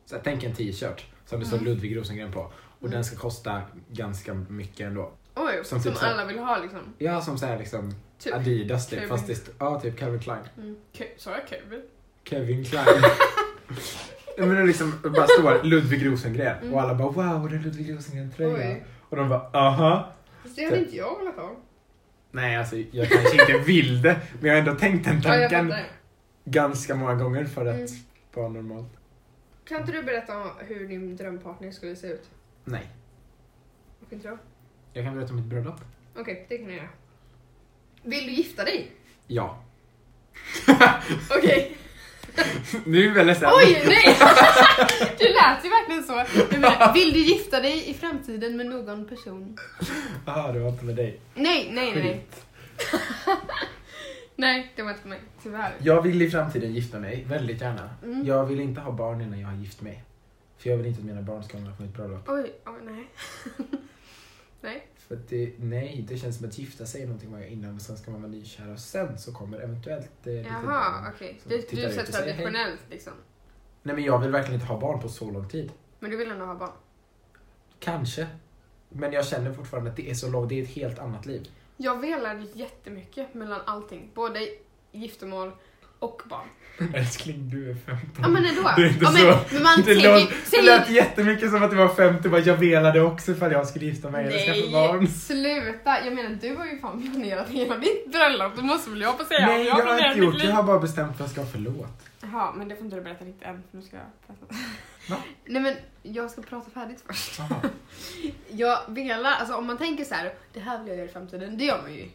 [SPEAKER 2] Så jag tänker en t-shirt som det står
[SPEAKER 1] Mm.
[SPEAKER 2] Ludvig Rosengren på och
[SPEAKER 1] Mm.
[SPEAKER 2] den ska kosta ganska mycket ändå.
[SPEAKER 1] Oj,
[SPEAKER 2] Som
[SPEAKER 1] som,
[SPEAKER 2] typ så här-
[SPEAKER 1] alla vill ha liksom.
[SPEAKER 2] Ja, som såhär liksom
[SPEAKER 1] Typ.
[SPEAKER 2] Adidas typ,
[SPEAKER 1] Kevin.
[SPEAKER 2] fast det st- ja, typ Calvin Klein.
[SPEAKER 1] Mm. Ke- Sa jag Kevin?
[SPEAKER 2] Kevin Klein. Jag menar liksom, det bara står Ludvig Rosengren
[SPEAKER 1] Mm.
[SPEAKER 2] och alla bara wow, det är Ludvig Rosengren-tröja.
[SPEAKER 1] Oj.
[SPEAKER 2] Och de bara aha.
[SPEAKER 1] Fast det hade inte jag velat ha.
[SPEAKER 2] Nej, alltså jag kanske inte vill det, men jag har ändå tänkt den
[SPEAKER 1] Ja, jag
[SPEAKER 2] tanken
[SPEAKER 1] fattar.
[SPEAKER 2] ganska många gånger för att
[SPEAKER 1] Mm.
[SPEAKER 2] vara normalt.
[SPEAKER 5] Kan inte du berätta om hur din drömpartner skulle se ut?
[SPEAKER 2] Nej,
[SPEAKER 5] Och inte jag?
[SPEAKER 2] jag kan berätta om mitt bröllop.
[SPEAKER 5] Okej, det kan jag göra. Vill du gifta dig?
[SPEAKER 2] Ja.
[SPEAKER 5] Okej.
[SPEAKER 2] nu är vi väl ledsen.
[SPEAKER 1] Oj, nej! Det lät ju verkligen så. Jag menar, vill du gifta dig i framtiden med någon person?
[SPEAKER 2] Jaha, det var inte med dig.
[SPEAKER 1] Nej, nej, nej.
[SPEAKER 2] Skit.
[SPEAKER 1] Nej, det var inte för mig. Tyvärr.
[SPEAKER 2] Jag vill i framtiden gifta mig, väldigt gärna.
[SPEAKER 1] Mm.
[SPEAKER 2] Jag vill inte ha barn innan jag har gift mig. För jag vill inte att mina barn ska hamna på mitt bröllop.
[SPEAKER 1] Oj, oj, nej. nej.
[SPEAKER 2] För att det, nej, det känns som att gifta sig är någonting man gör innan och sen ska man vara nykär och sen så kommer eventuellt eh, lite
[SPEAKER 1] Jaha,
[SPEAKER 2] barn.
[SPEAKER 1] okej.
[SPEAKER 2] Så
[SPEAKER 1] Du,
[SPEAKER 2] tittar
[SPEAKER 1] du
[SPEAKER 2] ut och
[SPEAKER 1] ser
[SPEAKER 2] säger hej.
[SPEAKER 1] traditionellt liksom.
[SPEAKER 2] Nej men jag vill verkligen inte ha barn på så lång tid.
[SPEAKER 5] Men du vill ändå ha barn?
[SPEAKER 2] Kanske. Men jag känner fortfarande att det är så långt, det är ett helt annat liv.
[SPEAKER 1] Jag velar jättemycket mellan allting. Både giftermål och barn.
[SPEAKER 2] Älskling, du är 15.
[SPEAKER 1] Ja men ändå.
[SPEAKER 2] Mm. Det är inte
[SPEAKER 1] ja, men,
[SPEAKER 2] så.
[SPEAKER 1] Men man
[SPEAKER 2] Det
[SPEAKER 1] säger,
[SPEAKER 2] låter- Det
[SPEAKER 1] säger,
[SPEAKER 2] lät jättemycket som att du var 50 bara jag velade också ifall jag skulle gifta mig eller skaffa barn.
[SPEAKER 1] Nej, sluta! Jag menar, du har ju fan planerat hela ditt bröllop. Det måste väl jag få säga?
[SPEAKER 2] Nej, jag
[SPEAKER 1] har
[SPEAKER 2] har
[SPEAKER 1] planerat
[SPEAKER 2] inte
[SPEAKER 1] mitt
[SPEAKER 2] gjort det.
[SPEAKER 1] liv.
[SPEAKER 2] Jag har bara bestämt att jag ska ha förlåt.
[SPEAKER 1] Jaha, men det får inte du berätta riktigt än. För nu ska jag prata.
[SPEAKER 2] Va?
[SPEAKER 1] Nej men, jag ska prata färdigt först.
[SPEAKER 2] Jaha.
[SPEAKER 1] Jag velar, alltså om man tänker så här, det här vill jag göra i framtiden. Det gör man ju.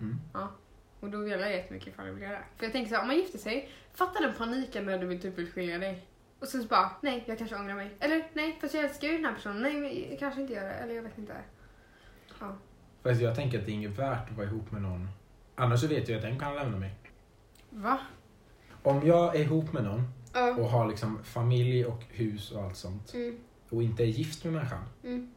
[SPEAKER 2] Mm.
[SPEAKER 1] Och då velar jag jättemycket ifall jag vill göra det. För jag tänker så här, om man gifter sig, fatta den paniken när du vill typ vill skilja dig. Och sen så bara, nej jag kanske ångrar mig. Eller nej, fast jag älskar ju den här personen. Nej, men jag kanske inte gör det. Eller jag vet inte.
[SPEAKER 2] Fast jag tänker att det är inget värt att vara ihop med någon. Annars så vet jag att den kan lämna mig.
[SPEAKER 1] Va?
[SPEAKER 2] Om jag är ihop med någon
[SPEAKER 1] Ja.
[SPEAKER 2] och har liksom familj och hus och allt sånt
[SPEAKER 1] Mm.
[SPEAKER 2] och inte är gift med människan,
[SPEAKER 1] Mm.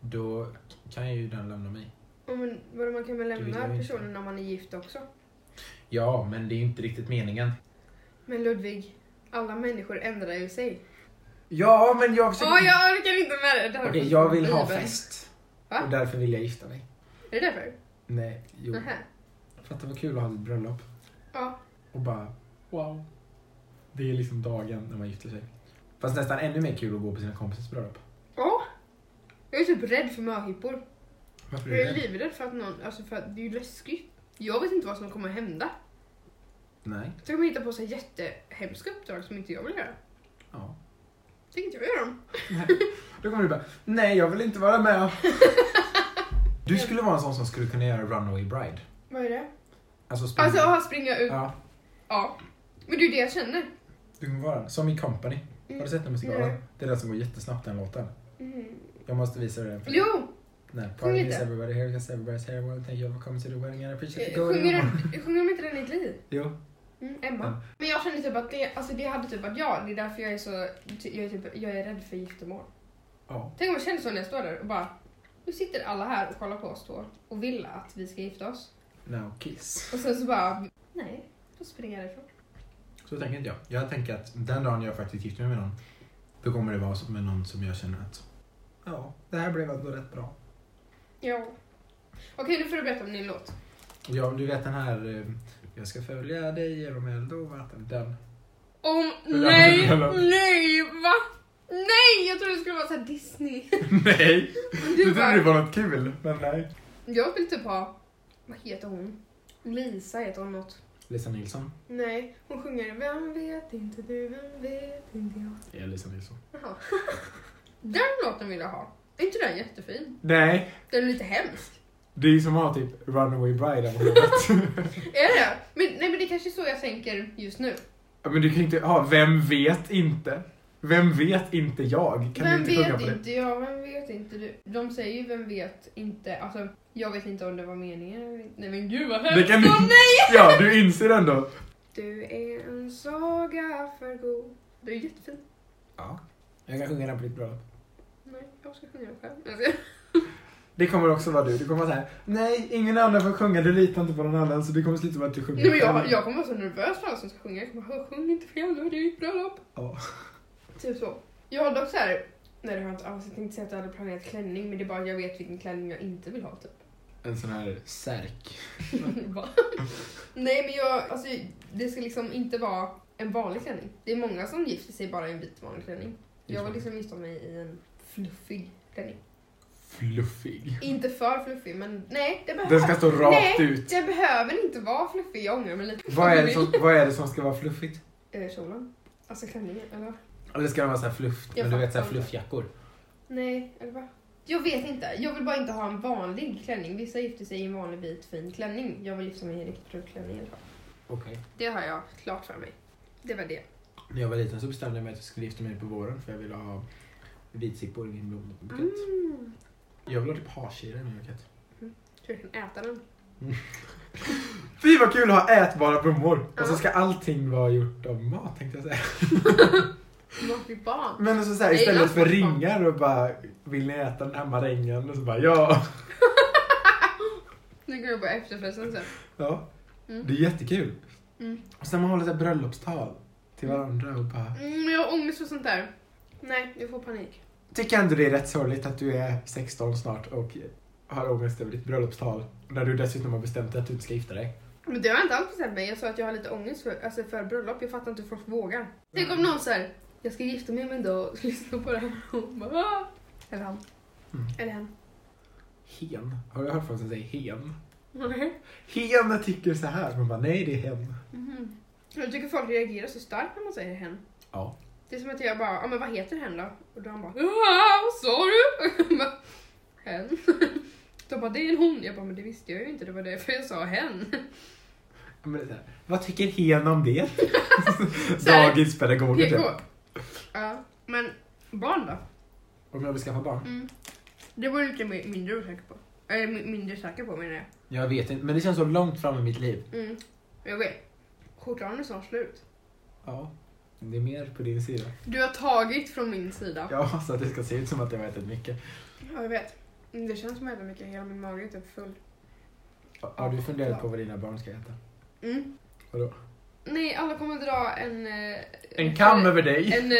[SPEAKER 2] då kan ju den lämna mig.
[SPEAKER 1] Ja, Men, vadå, man kan väl
[SPEAKER 2] vill
[SPEAKER 1] lämna
[SPEAKER 2] jag inte.
[SPEAKER 1] personen om man är gift också?
[SPEAKER 2] Ja, men det är ju inte riktigt meningen.
[SPEAKER 1] Men Ludvig, alla människor ändrar ju sig.
[SPEAKER 2] Ja, men jag
[SPEAKER 1] Åh, jag orkar inte med det! det här
[SPEAKER 2] Alltså, Okej,
[SPEAKER 1] är
[SPEAKER 2] jag vill ha
[SPEAKER 1] Bibeln.
[SPEAKER 2] fest.
[SPEAKER 1] Va?
[SPEAKER 2] Och därför vill jag gifta mig.
[SPEAKER 1] Är det därför?
[SPEAKER 2] Nej, jo.
[SPEAKER 1] Nähä.
[SPEAKER 2] Fatta vad kul att ha ett bröllop.
[SPEAKER 1] Ja.
[SPEAKER 2] Och bara, wow. Det är liksom dagen när man gifter sig. Fast nästan ännu mer kul att gå på sina kompisars bröllop.
[SPEAKER 1] Ja. Jag är typ rädd för möhippor.
[SPEAKER 2] Varför
[SPEAKER 1] Jag
[SPEAKER 2] är
[SPEAKER 1] är
[SPEAKER 2] det?
[SPEAKER 1] livrädd för att någon, alltså för att det är ju läskigt. Jag vet inte vad som kommer hända.
[SPEAKER 2] Nej.
[SPEAKER 1] Så kan man hitta på så här jättehemska uppdrag som inte jag vill göra.
[SPEAKER 2] Ja.
[SPEAKER 1] Tänk inte jag göra dem.
[SPEAKER 2] Då kommer du bara, nej jag vill inte vara med. Du skulle vara en sån som skulle kunna göra Runaway Bride.
[SPEAKER 1] Vad är det?
[SPEAKER 2] Alltså, springa.
[SPEAKER 1] Alltså, aha, springa ut. Ja.
[SPEAKER 2] Ja,
[SPEAKER 1] Men det är ju det jag känner.
[SPEAKER 2] du kommer vara Som i Company.
[SPEAKER 1] Mm.
[SPEAKER 2] Har du sett den musikalen?
[SPEAKER 1] Nej.
[SPEAKER 2] Det är den som går jättesnabbt den låten.
[SPEAKER 1] Mm.
[SPEAKER 2] Jag måste visa dig den.
[SPEAKER 1] Jo!
[SPEAKER 2] Nej,
[SPEAKER 1] Sjung
[SPEAKER 2] party
[SPEAKER 1] lite.
[SPEAKER 2] is everybody here because everybody's here. Well, thank you for coming to the wedding and I appreciate
[SPEAKER 1] Eh,
[SPEAKER 2] you going
[SPEAKER 1] Sjunger
[SPEAKER 2] on.
[SPEAKER 1] de- sjunger de inte den i ett liv?
[SPEAKER 2] Jo.
[SPEAKER 1] Mm, Emma.
[SPEAKER 2] Mm.
[SPEAKER 1] Men jag känner typ att det, alltså det hade typ varit jag. Det är därför jag är så, jag är, typ, jag är rädd för giftermål.
[SPEAKER 2] Ja.
[SPEAKER 1] Tänk om jag känner så när jag står där och bara, nu sitter alla här och kollar på oss då och vill att vi ska gifta oss.
[SPEAKER 2] Now kiss.
[SPEAKER 1] Och sen så bara, nej, då springer jag ifrån.
[SPEAKER 2] Så tänker inte jag. Jag tänker att den dagen jag faktiskt gifter mig med någon, då kommer det vara som- med någon som jag känner att ja, det här blev ändå rätt bra.
[SPEAKER 1] Ja. Okej, nu får du berätta om din låt.
[SPEAKER 2] Ja, du vet den här eh, jag ska följa dig genom eld och vatten. Den.
[SPEAKER 1] Om,
[SPEAKER 2] där
[SPEAKER 1] nej,
[SPEAKER 2] var det.
[SPEAKER 1] nej, va? Nej, jag trodde det skulle vara såhär Disney.
[SPEAKER 2] nej!
[SPEAKER 1] Du bara,
[SPEAKER 2] var något kul, men nej.
[SPEAKER 1] jag vill typ ha, vad heter hon? Lisa heter hon något.
[SPEAKER 2] Lisa Nilsson.
[SPEAKER 1] Nej, hon sjunger Vem vet inte du, vem vet inte jag.
[SPEAKER 2] Det är Lisa Nilsson.
[SPEAKER 1] Jaha. Den låten vill jag ha. Är inte den jättefin?
[SPEAKER 2] Nej,
[SPEAKER 1] Den är lite hemsk.
[SPEAKER 2] det är som att ha typ Runaway Bride av håret.
[SPEAKER 1] Är det? Men, nej men det är kanske är så jag tänker just nu.
[SPEAKER 2] Ja, men du kan ju inte ha Vem vet inte? Vem vet inte jag? Kan
[SPEAKER 1] vem
[SPEAKER 2] du inte sjunga
[SPEAKER 1] vet
[SPEAKER 2] på det?
[SPEAKER 1] inte jag, vem vet inte du? De säger ju vem vet inte, alltså jag vet inte om det var meningen eller inte. Nej men gud vad
[SPEAKER 2] Det
[SPEAKER 1] hemskt!
[SPEAKER 2] kan du-
[SPEAKER 1] Åh nej!
[SPEAKER 2] Ja, du inser ändå.
[SPEAKER 1] Du är en saga för god. Du är jättefin.
[SPEAKER 2] Ja. Jag kan sjunga den på ditt bröllop.
[SPEAKER 1] Nej, jag ska sjunga den själv. Jag ska-
[SPEAKER 2] Det kommer också vara du. Du kommer vara såhär, nej ingen annan får sjunga, du litar inte på någon annan så det kommer sluta med att du sjunger.
[SPEAKER 1] Nej, men jag, jag kommer vara så nervös för alla som ska sjunga. Jag kommer bara, sjung inte fel, då är det ju ett bröllop.
[SPEAKER 2] Ja.
[SPEAKER 1] Typ så. Jag har dock så här, nej det har jag inte alls. Jag tänkte säga att jag hade planerat klänning, men det är bara att jag vet vilken klänning jag inte vill ha typ.
[SPEAKER 2] En sån här särk.
[SPEAKER 1] Va? Nej men jag, alltså det ska liksom inte vara en vanlig klänning. Det är många som gifter sig bara i en vit vanlig klänning. Jag vill liksom gifta mig i en fluffig klänning.
[SPEAKER 2] Fluffig.
[SPEAKER 1] Inte för fluffig men nej det behöver,
[SPEAKER 2] Den ska stå rakt
[SPEAKER 1] Nej.
[SPEAKER 2] ut.
[SPEAKER 1] det behöver inte vara fluffig. Jag ångrar mig lite.
[SPEAKER 2] Vad är, det som, vad är det som ska vara fluffigt?
[SPEAKER 1] Eh, Kjolen? Alltså klänningen eller?
[SPEAKER 2] Eller ska den vara såhär fluff,
[SPEAKER 1] Jag
[SPEAKER 2] men du vet
[SPEAKER 1] fattar
[SPEAKER 2] såhär
[SPEAKER 1] inte.
[SPEAKER 2] fluffjackor?
[SPEAKER 1] Nej eller va? Jag vet inte. Jag vill bara inte ha en vanlig klänning. Vissa gifter sig i en vanlig vit fin klänning. Jag vill gifta mig i en riktig brudklänning i alla fall.
[SPEAKER 2] Okej.
[SPEAKER 1] Det har jag klart för mig. Det var det.
[SPEAKER 2] När jag var liten så bestämde jag mig att jag skulle gifta mig på våren för jag ville ha vitsippor i min blombukett.
[SPEAKER 1] Mm.
[SPEAKER 2] Jag vill ha typ hakkira i min bukett.
[SPEAKER 1] Tror jag kan äta den.
[SPEAKER 2] Fy vad kul att ha ätbara blommor! Och så
[SPEAKER 1] Ja.
[SPEAKER 2] ska allting vara gjort av mat tänkte jag säga.
[SPEAKER 1] Matligt barn.
[SPEAKER 2] Men så så här,
[SPEAKER 1] Jag gillar
[SPEAKER 2] istället för
[SPEAKER 1] inte mat.
[SPEAKER 2] ringar och bara Vill ni äta den här marängen? Och så bara ja!
[SPEAKER 1] Nu går jag på efterfesten sen.
[SPEAKER 2] ja.
[SPEAKER 1] Mm.
[SPEAKER 2] Det är jättekul.
[SPEAKER 1] Mm.
[SPEAKER 2] Och sen man håller så här bröllopstal till varandra och bara
[SPEAKER 1] Mm, men jag har ångest för sånt där. Nej, jag får panik.
[SPEAKER 2] Tycker ändå det är rätt sorgligt att du är 16 snart och har ångest över ditt bröllopstal. När du dessutom har bestämt dig att du inte ska gifta dig.
[SPEAKER 1] Men det har jag inte alls bestämt mig. Jag sa att jag har lite ångest för, alltså för bröllop. Jag fattar inte hur folk vågar. Tänk om någon säger jag ska gifta mig med en dag och lyssna på det här. Och bara, "Ah." Eller han.
[SPEAKER 2] Mm.
[SPEAKER 1] Eller hen.
[SPEAKER 2] Hen. Har du hört folk som säger hen?
[SPEAKER 1] Nej.
[SPEAKER 2] Hen tycker så här. Man bara nej det är hen.
[SPEAKER 1] Mhm. Jag tycker folk reagerar så starkt när man säger hen.
[SPEAKER 2] Ja.
[SPEAKER 1] Det är som att jag bara, ja men vad heter hen då? Och då han bara, "Ah, vad sa du? Och jag bara, Hen. De bara, det är en hon. Jag bara, men det visste jag ju inte. Det var därför jag sa hen.
[SPEAKER 2] Men det är så här, vad tycker hen om det?
[SPEAKER 1] Så här,
[SPEAKER 2] Dagispedagoger
[SPEAKER 1] PK.
[SPEAKER 2] typ.
[SPEAKER 1] Ja, men barn då?
[SPEAKER 2] Om jag vill skaffa barn?
[SPEAKER 1] Det var jag lite mi- mindre osäker på. Eller mi- mindre säker på menar jag.
[SPEAKER 2] Jag vet inte, men det känns så långt fram i mitt liv.
[SPEAKER 1] Mm. Jag vet. Skjortan är snart slut.
[SPEAKER 2] Ja. Det är mer på din sida.
[SPEAKER 1] Du har tagit från min sida.
[SPEAKER 2] Ja, så att det ska se ut som att jag har ätit mycket.
[SPEAKER 3] Ja, jag vet. Men Det känns som att jag äter mycket. Hela min mage är typ full.
[SPEAKER 2] Har- Har du funderat på vad dina barn ska äta?
[SPEAKER 1] Mm.
[SPEAKER 2] Vadå?
[SPEAKER 1] Nej, alla kommer dra en... eh,
[SPEAKER 2] En kam
[SPEAKER 1] refer-
[SPEAKER 2] över dig!
[SPEAKER 1] En,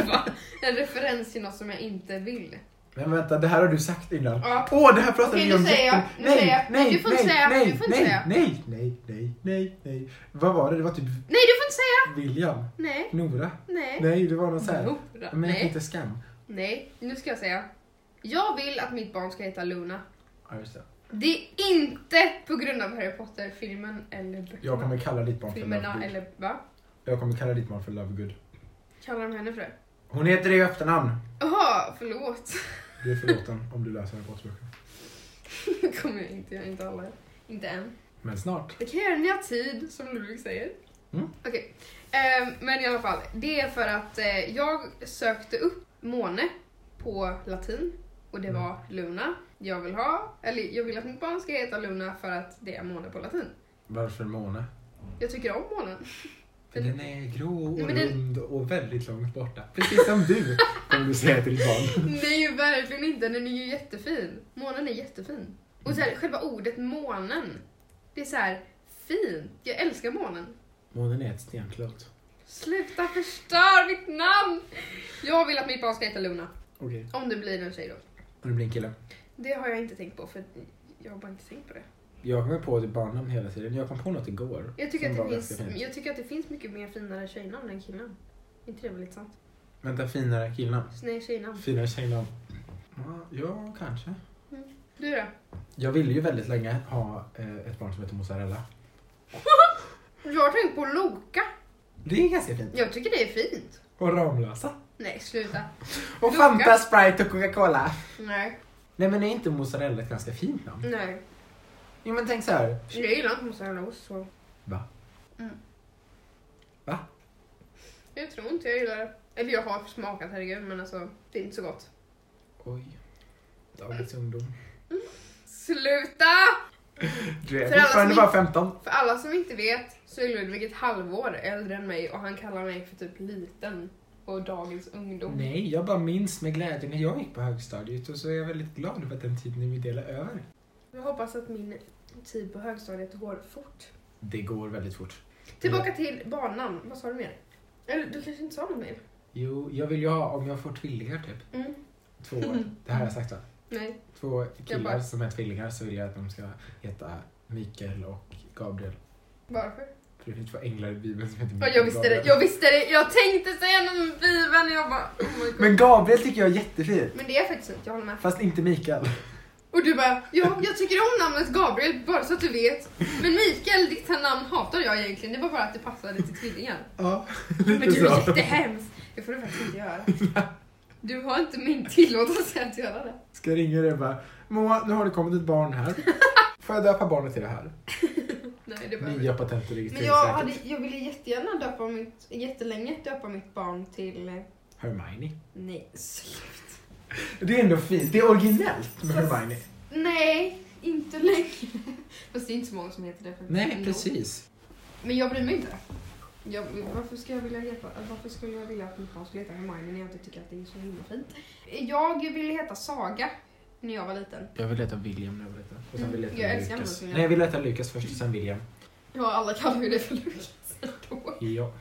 [SPEAKER 1] eh, va? en referens till något som jag inte vill.
[SPEAKER 2] Men vänta, det här har du sagt innan.
[SPEAKER 1] Ja.
[SPEAKER 2] Åh, det här pratade
[SPEAKER 1] Okej,
[SPEAKER 2] vi
[SPEAKER 1] nu
[SPEAKER 2] om
[SPEAKER 1] säger jag,
[SPEAKER 2] jätten-
[SPEAKER 1] nu säger jag.
[SPEAKER 2] nej,
[SPEAKER 1] Du får
[SPEAKER 2] nej,
[SPEAKER 1] inte säga,
[SPEAKER 2] nej,
[SPEAKER 1] du får inte
[SPEAKER 2] nej,
[SPEAKER 1] säga.
[SPEAKER 2] nej, nej, nej, nej, nej. Vad var det? Det var typ
[SPEAKER 1] Nej, du får inte säga!
[SPEAKER 2] William,
[SPEAKER 1] Nej,
[SPEAKER 2] Nora.
[SPEAKER 1] nej.
[SPEAKER 2] Nej, det var någon så här.
[SPEAKER 1] Nora.
[SPEAKER 2] Men jag
[SPEAKER 1] Nej,
[SPEAKER 2] heter Skam.
[SPEAKER 1] nej. Nu ska jag säga. Jag vill att mitt barn ska heta Luna.
[SPEAKER 2] Ja, just det.
[SPEAKER 1] Det är inte på grund av Harry Potter-filmen eller böckerna.
[SPEAKER 2] Jag kommer kalla ditt barn för
[SPEAKER 1] Filmerna
[SPEAKER 2] Lovegood.
[SPEAKER 1] eller va?
[SPEAKER 2] Jag kommer kalla ditt barn för Lovegood.
[SPEAKER 1] Kallar de henne för det?
[SPEAKER 2] Hon heter det i efternamn.
[SPEAKER 1] Jaha, förlåt.
[SPEAKER 2] Du är förlåten om du läser Harry Potter-böcker.
[SPEAKER 1] Det kommer jag inte göra, inte alla. Inte än.
[SPEAKER 2] Men snart.
[SPEAKER 1] Det kan jag göra när jag har tid, som Ludvig säger.
[SPEAKER 2] Mm.
[SPEAKER 1] Okej. Ehm, men i alla fall, det är för att eh, jag sökte upp måne på latin och det var luna. Jag vill ha, eller jag vill att mitt barn ska heta luna för att det är måne på latin.
[SPEAKER 2] Varför måne?
[SPEAKER 1] Jag tycker om månen.
[SPEAKER 2] För den är grå och
[SPEAKER 1] Nej, men den-
[SPEAKER 2] rund och väldigt långt borta. Precis som du, kommer du säga till ditt barn.
[SPEAKER 1] Nej, verkligen inte. Den är ju jättefin. Månen är jättefin. Och så här, själva ordet månen. Det är så här fint. Jag älskar månen.
[SPEAKER 2] Månen är ett stenklot.
[SPEAKER 1] Sluta förstör mitt namn! Jag vill att mitt barn ska heta Luna.
[SPEAKER 2] Okej.
[SPEAKER 1] Om det blir en tjej då.
[SPEAKER 2] Och det blir en kille.
[SPEAKER 1] Det har jag inte tänkt på för jag har bara inte tänkt på det.
[SPEAKER 2] Jag kommer på ett barnnamn hela tiden. Jag kom på något igår.
[SPEAKER 1] Jag tycker,
[SPEAKER 2] som
[SPEAKER 1] att det,
[SPEAKER 2] var
[SPEAKER 1] finns,
[SPEAKER 2] ganska fint.
[SPEAKER 1] jag tycker att det finns mycket mer finare tjejnamn än killnamn. Inte det väl lite sant?
[SPEAKER 2] Vänta, finare killnamn.
[SPEAKER 1] Nej, tjejnamn.
[SPEAKER 2] Finare tjejnamn. Ja, Ja, kanske.
[SPEAKER 1] Du då?
[SPEAKER 2] Jag ville ju väldigt länge ha eh, ett barn som heter mozzarella.
[SPEAKER 1] Jag har tänkt på Loka.
[SPEAKER 2] Det är ganska fint.
[SPEAKER 1] Jag tycker det är fint.
[SPEAKER 2] Och Ramlösa.
[SPEAKER 1] Nej, sluta.
[SPEAKER 2] Och
[SPEAKER 1] Loka.
[SPEAKER 2] Fanta, Sprite och Coca-Cola.
[SPEAKER 1] Nej,
[SPEAKER 2] Nej men är inte mozzarella ett ganska fint namn?
[SPEAKER 1] nej.
[SPEAKER 2] Jo men tänk så här.
[SPEAKER 1] Jag gillar inte mozzarellaost så. Mm.
[SPEAKER 2] Va?
[SPEAKER 1] Jag tror inte jag gillar det. Eller jag har smakat herregud men alltså det är inte så gott.
[SPEAKER 2] Oj. Dagens ungdom.
[SPEAKER 1] Sluta!
[SPEAKER 2] Du
[SPEAKER 1] För
[SPEAKER 2] är
[SPEAKER 1] alla
[SPEAKER 2] fortfarande
[SPEAKER 1] som
[SPEAKER 2] bara 15.
[SPEAKER 1] För alla som inte vet så är Ludvig ett halvår äldre än mig och han kallar mig för typ liten och dagens ungdom.
[SPEAKER 2] Nej, jag bara minns med glädje när jag gick på högstadiet och så är jag väldigt glad över att den tiden vi delar över.
[SPEAKER 1] Jag hoppas att min tid på högstadiet går fort.
[SPEAKER 2] Det går väldigt fort.
[SPEAKER 1] Tillbaka till barnnamn, vad sa du mer? Eller du kanske inte sa något mer?
[SPEAKER 2] Jo, jag vill ju ha, om jag får tvillingar typ,
[SPEAKER 1] Mm.
[SPEAKER 2] två, det här har jag sagt va?
[SPEAKER 1] Nej.
[SPEAKER 2] Två killar
[SPEAKER 1] bara-
[SPEAKER 2] som är tvillingar så vill jag att de ska heta Mikael och Gabriel.
[SPEAKER 1] Varför?
[SPEAKER 2] För det finns två änglar i Bibeln som heter
[SPEAKER 1] Ja,
[SPEAKER 2] Mikael
[SPEAKER 1] jag
[SPEAKER 2] och
[SPEAKER 1] visste
[SPEAKER 2] Gabriel.
[SPEAKER 1] det, jag visste det! Jag tänkte säga något med Bibeln och jag bara oh my god.
[SPEAKER 2] Men Gabriel tycker jag är jättefin.
[SPEAKER 1] Men det är faktiskt inte, jag håller med.
[SPEAKER 2] Fast inte Mikael.
[SPEAKER 1] Och du bara, ja, jag tycker om namnet Gabriel bara så att du vet. Men Mikael, ditt namn hatar jag egentligen. Det var bara att det passade till tvillingar.
[SPEAKER 2] Ja,
[SPEAKER 1] Men
[SPEAKER 2] lite
[SPEAKER 1] du är
[SPEAKER 2] så.
[SPEAKER 1] jättehemskt. Det får du faktiskt inte göra. Du har inte min tillåtelse att göra det.
[SPEAKER 2] Ska jag ringa dig och bara Moa, nu har det kommit ett barn här. Får jag döpa barnet till det här?
[SPEAKER 1] Nej, det behöver
[SPEAKER 2] Nya patent och
[SPEAKER 1] Men jag,
[SPEAKER 2] registreringsverket.
[SPEAKER 1] hade, jag ville jättegärna döpa mitt, jättelänge döpa mitt barn till... eh,
[SPEAKER 2] Hermione.
[SPEAKER 1] Nej, slut.
[SPEAKER 2] Det är ändå fint. Det är originellt med Hermione.
[SPEAKER 1] Nej, inte längre. Fast det är inte så många som heter det. för-
[SPEAKER 2] Nej,
[SPEAKER 1] ändå.
[SPEAKER 2] precis.
[SPEAKER 1] Men jag bryr mig inte. Jag, varför, ska jag vilja heta, varför skulle jag vilja att mitt barn skulle heta Hermione när jag inte tycker att det är så himla fint? Jag ville heta Saga när jag var liten.
[SPEAKER 2] Jag vill heta William när jag var liten. Och sen vill jag
[SPEAKER 1] Mm, jag
[SPEAKER 2] heta
[SPEAKER 1] älskar
[SPEAKER 2] Lucas.
[SPEAKER 1] William.
[SPEAKER 2] Nej, jag vill heta Lucas först och sen William.
[SPEAKER 1] Ja, alla kallar ju det för Lukas då.
[SPEAKER 2] Ja.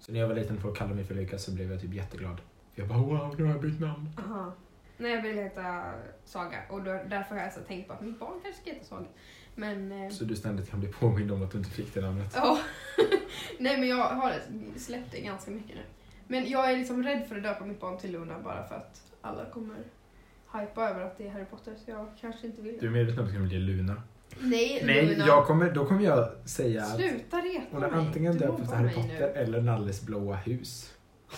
[SPEAKER 2] Så när jag var liten och folk kallade mig för Lucas så blev jag typ jätteglad. Jag bara wow, nu har jag bytt namn.
[SPEAKER 1] Aha. Nej, jag ville heta Saga och då, därför har jag så tänkt på att mitt barn kanske ska heta Saga. Men... eh,
[SPEAKER 2] Så du ständigt kan bli påmind om att du inte fick det namnet.
[SPEAKER 1] Ja. Nej men jag har släppt det ganska mycket nu. Men jag är liksom rädd för att döpa mitt barn till Luna bara för att alla kommer hypa över att det är Harry Potter så jag kanske inte vill
[SPEAKER 2] Du
[SPEAKER 1] det.
[SPEAKER 2] är medveten om att det kommer bli Luna?
[SPEAKER 1] Nej,
[SPEAKER 2] Nej,
[SPEAKER 1] Luna.
[SPEAKER 2] jag kommer, då kommer jag säga att
[SPEAKER 1] Sluta reta
[SPEAKER 2] hon är
[SPEAKER 1] mig.
[SPEAKER 2] antingen
[SPEAKER 1] Du
[SPEAKER 2] döpt efter
[SPEAKER 1] mobbar
[SPEAKER 2] Harry
[SPEAKER 1] mig
[SPEAKER 2] Potter eller Nalles blåa hus.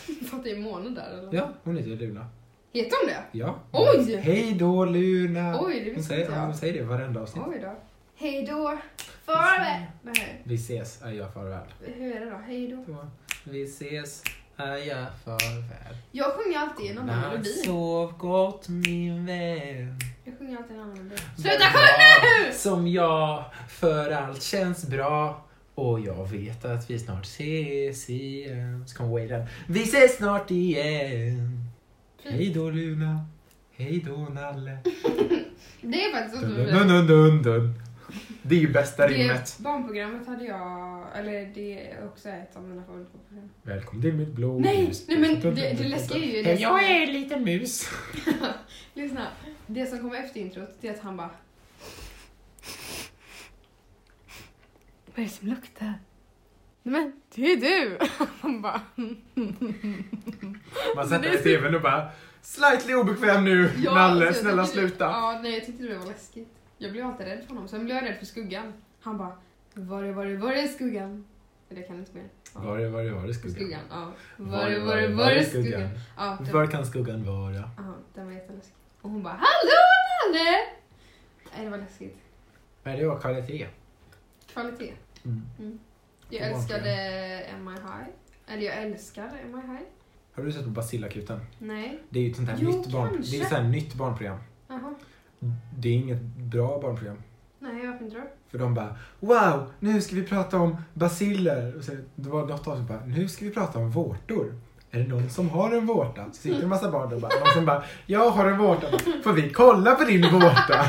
[SPEAKER 1] nu. för att det är måne där eller?
[SPEAKER 2] Ja, hon heter ju Luna.
[SPEAKER 1] Heter hon det?
[SPEAKER 2] Ja.
[SPEAKER 1] Oj!
[SPEAKER 2] Hej då Luna!
[SPEAKER 1] Oj, det
[SPEAKER 2] hon
[SPEAKER 1] visste inte
[SPEAKER 2] säger, hon
[SPEAKER 1] jag.
[SPEAKER 2] säger det i varenda avsnitt.
[SPEAKER 1] Oj då. Hej då. Farväl. Nej,
[SPEAKER 2] Vi ses, adjö farväl.
[SPEAKER 1] hur är det då? Hej då.
[SPEAKER 2] Då, vi ses, adjö farväl.
[SPEAKER 1] Jag sjunger alltid en annan melodi.
[SPEAKER 2] sov gott min vän.
[SPEAKER 1] Jag sjunger alltid en annan melodi.
[SPEAKER 2] Sluta sjung nu! Som jag, för allt känns bra. Och jag vet att vi snart ses igen. Så kommer Waylon. Vi ses snart igen. Hej då Luna. Hej då Nalle.
[SPEAKER 1] Det är faktiskt
[SPEAKER 2] Dun,
[SPEAKER 1] otroligt.
[SPEAKER 2] dun, dun, dun, dun. Det är ju bästa rimmet.
[SPEAKER 1] Det barnprogrammet hade jag, eller det är också ett av mina favoritprogram.
[SPEAKER 2] Välkommen till mitt blå
[SPEAKER 1] Nej,
[SPEAKER 2] hus.
[SPEAKER 1] nej men det, det läskiga är ju det
[SPEAKER 2] Hej,
[SPEAKER 1] som-
[SPEAKER 2] jag är en liten mus.
[SPEAKER 1] Lyssna. Det som kommer efter introt, det är att han bara...
[SPEAKER 3] Vad är det som luktar? Nej men, det är du! Han bara,
[SPEAKER 2] Man
[SPEAKER 3] Men
[SPEAKER 2] sätter
[SPEAKER 3] det
[SPEAKER 2] i tvn och bara Slightly obekväm nu,
[SPEAKER 1] Ja, alltså,
[SPEAKER 2] Nalle,
[SPEAKER 1] jag
[SPEAKER 2] snälla
[SPEAKER 1] tyckte det-
[SPEAKER 2] sluta.
[SPEAKER 1] Ja, nej jag tyckte det var läskigt. Jag blev alltid rädd för honom. Sen blev jag rädd för skuggan. Han bara, var är, var är, var är skuggan? Nej, Det kan jag inte mer. Ja.
[SPEAKER 2] Var är, var är, var är skuggan?
[SPEAKER 1] Skuggan, ja. Var är, var är, var är skuggan? Ja, den,
[SPEAKER 2] Var kan skuggan vara?
[SPEAKER 1] ja, den var jätteläskig. Och hon bara, hallå Nalle! Nej, det var läskigt.
[SPEAKER 2] Men det var kvalitet.
[SPEAKER 1] Kvalitet.
[SPEAKER 2] Mm.
[SPEAKER 1] Jag älskade Am I High. Eller jag älskar Am I High.
[SPEAKER 2] Har du sett på Basillakuten?
[SPEAKER 1] Nej.
[SPEAKER 2] Det är ju ett sånt här
[SPEAKER 1] Jo,
[SPEAKER 2] nytt, barn,
[SPEAKER 1] kanske.
[SPEAKER 2] det är ett sånt här nytt barnprogram.
[SPEAKER 1] Jaha.
[SPEAKER 2] Det är inget bra barnprogram.
[SPEAKER 1] Nej, varför inte då?
[SPEAKER 2] För de bara Wow, nu ska vi prata om basiller. Och så, det var något av dem som bara Nu ska vi prata om vårtor. Är det någon som har en vårta? Så sitter en massa barn där och bara, någon som bara Jag har en vårta. Får vi kolla på din vårta?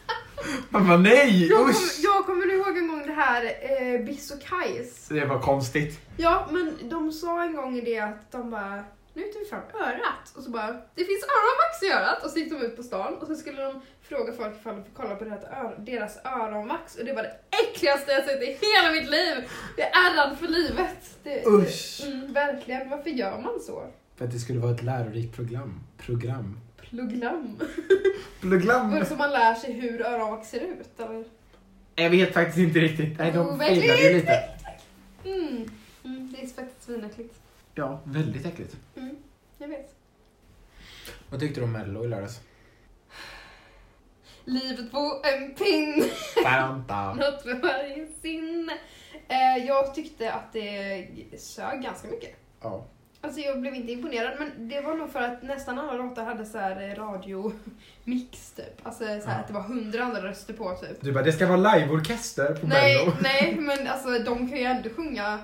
[SPEAKER 2] Man bara nej,
[SPEAKER 1] Jag,
[SPEAKER 2] usch!
[SPEAKER 1] kom, jag kommer ihåg en gång det här eh, Biss och Kajs.
[SPEAKER 2] Det var konstigt.
[SPEAKER 1] Ja, men de sa en gång i det att de bara nu tar vi fram örat och så bara det finns öronvax i örat och så gick de ut på stan och så skulle de fråga folk ifall de fick kolla på deras, ör, deras öronvax och det var det äckligaste jag sett i hela mitt liv. Jag är ärrad för livet. Det,
[SPEAKER 2] Usch.
[SPEAKER 1] Mm, verkligen, varför gör man så?
[SPEAKER 2] För att det skulle vara ett lärorikt program. Program.
[SPEAKER 1] Pluglam. Var
[SPEAKER 2] Program?
[SPEAKER 1] det så man lär sig hur öronvax ser ut eller?
[SPEAKER 2] Jag vet faktiskt inte riktigt. Nej, de
[SPEAKER 1] Overkligt.
[SPEAKER 2] failade ju lite.
[SPEAKER 1] Mm. Mm, det är faktiskt svinäckligt.
[SPEAKER 2] Ja, väldigt äckligt.
[SPEAKER 1] Mm, jag vet.
[SPEAKER 2] Vad tyckte du om Mello i lördags?
[SPEAKER 1] Livet på en pinn,
[SPEAKER 2] Bam, bam.
[SPEAKER 1] något för varje sinne. Eh, jag tyckte att det sög ganska mycket.
[SPEAKER 2] Ja.
[SPEAKER 1] Alltså jag blev inte imponerad men det var nog för att nästan alla låtar hade så här eh, radiomix typ. Alltså så här
[SPEAKER 2] Ja.
[SPEAKER 1] att det var hundra andra röster på typ.
[SPEAKER 2] Du bara, det ska vara liveorkester på
[SPEAKER 1] Nej,
[SPEAKER 2] Mello.
[SPEAKER 1] nej men alltså de kan ju ändå sjunga.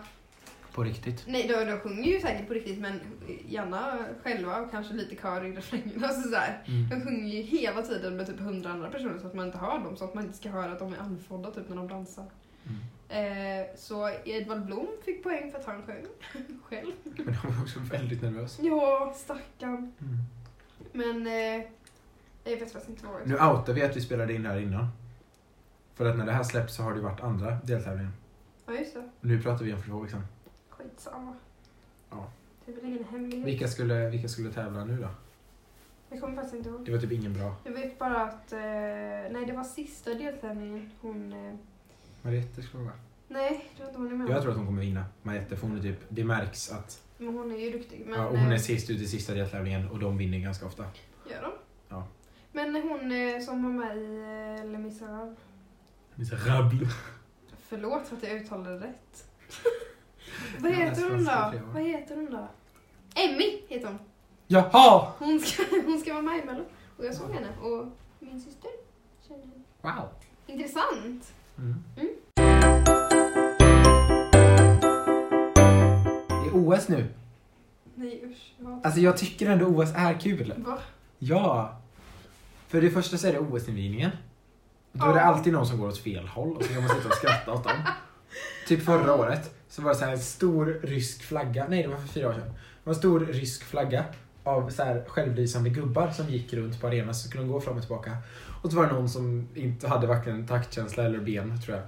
[SPEAKER 2] På riktigt.
[SPEAKER 1] Nej de, de sjunger ju säkert på riktigt men gärna själva och kanske lite kör i refrängen. Alltså så här.
[SPEAKER 2] Mm.
[SPEAKER 1] De sjunger ju hela tiden med typ hundra andra personer så att man inte hör dem, så att man inte ska höra att de är andfådda typ när de dansar.
[SPEAKER 2] Mm.
[SPEAKER 1] Eh, så Edvard Blom fick poäng för att han sjöng själv.
[SPEAKER 2] Men han var också väldigt nervös.
[SPEAKER 1] Ja, stackarn.
[SPEAKER 2] Mm.
[SPEAKER 1] Men eh, jag vet faktiskt inte vad jag
[SPEAKER 2] Nu outar vi att vi spelade in det här innan. För att när det här släpps så har det varit andra deltävlingen.
[SPEAKER 1] Ja, just det.
[SPEAKER 2] Nu pratar vi om för två veckor sedan.
[SPEAKER 1] Skitsamma.
[SPEAKER 2] Ja.
[SPEAKER 1] Det är väl ingen hemlighet.
[SPEAKER 2] Vilka skulle, vilka skulle tävla nu då?
[SPEAKER 1] Jag kommer faktiskt inte ihåg.
[SPEAKER 2] Det var typ ingen bra.
[SPEAKER 1] Jag vet bara att, eh, nej det var sista deltävlingen hon, eh,
[SPEAKER 2] Mariette skulle vara.
[SPEAKER 1] nej det var inte hon är med.
[SPEAKER 2] Jag tror att hon kommer vinna. Mariette, för hon är typ, det märks att
[SPEAKER 1] Men hon är ju duktig. Men,
[SPEAKER 2] ja, och hon är
[SPEAKER 1] eh,
[SPEAKER 2] sist ut i sista deltävlingen och de vinner ganska ofta.
[SPEAKER 1] Gör de?
[SPEAKER 2] Ja.
[SPEAKER 1] Men hon eh, som var med i eh, Les Misérables.
[SPEAKER 2] Miserable.
[SPEAKER 1] Förlåt för att jag uttalade det rätt. Vad
[SPEAKER 2] Ja,
[SPEAKER 1] heter hon
[SPEAKER 2] franska
[SPEAKER 1] då?
[SPEAKER 2] trevor.
[SPEAKER 1] Vad heter hon då? Emmy heter hon.
[SPEAKER 2] Jaha!
[SPEAKER 1] Hon ska, hon ska vara med i Mello. Och jag såg henne och min syster känner henne.
[SPEAKER 2] Wow.
[SPEAKER 1] Intressant. Mm.
[SPEAKER 2] Det är OS nu.
[SPEAKER 1] Nej usch. Jag hatar-
[SPEAKER 2] Alltså jag tycker ändå OS är kul.
[SPEAKER 1] Va?
[SPEAKER 2] Ja. För det första så är det OS-invigningen. Då är det
[SPEAKER 1] Ja.
[SPEAKER 2] alltid någon som går åt fel håll och så kan man sitta och skratta åt dem. Typ förra året så var det så här en stor rysk flagga, nej det var för fyra år sedan. Det var en stor rysk flagga av så här självlysande gubbar som gick runt på arenan så skulle de gå fram och tillbaka. Och så var det någon som inte hade varken taktkänsla eller ben tror jag.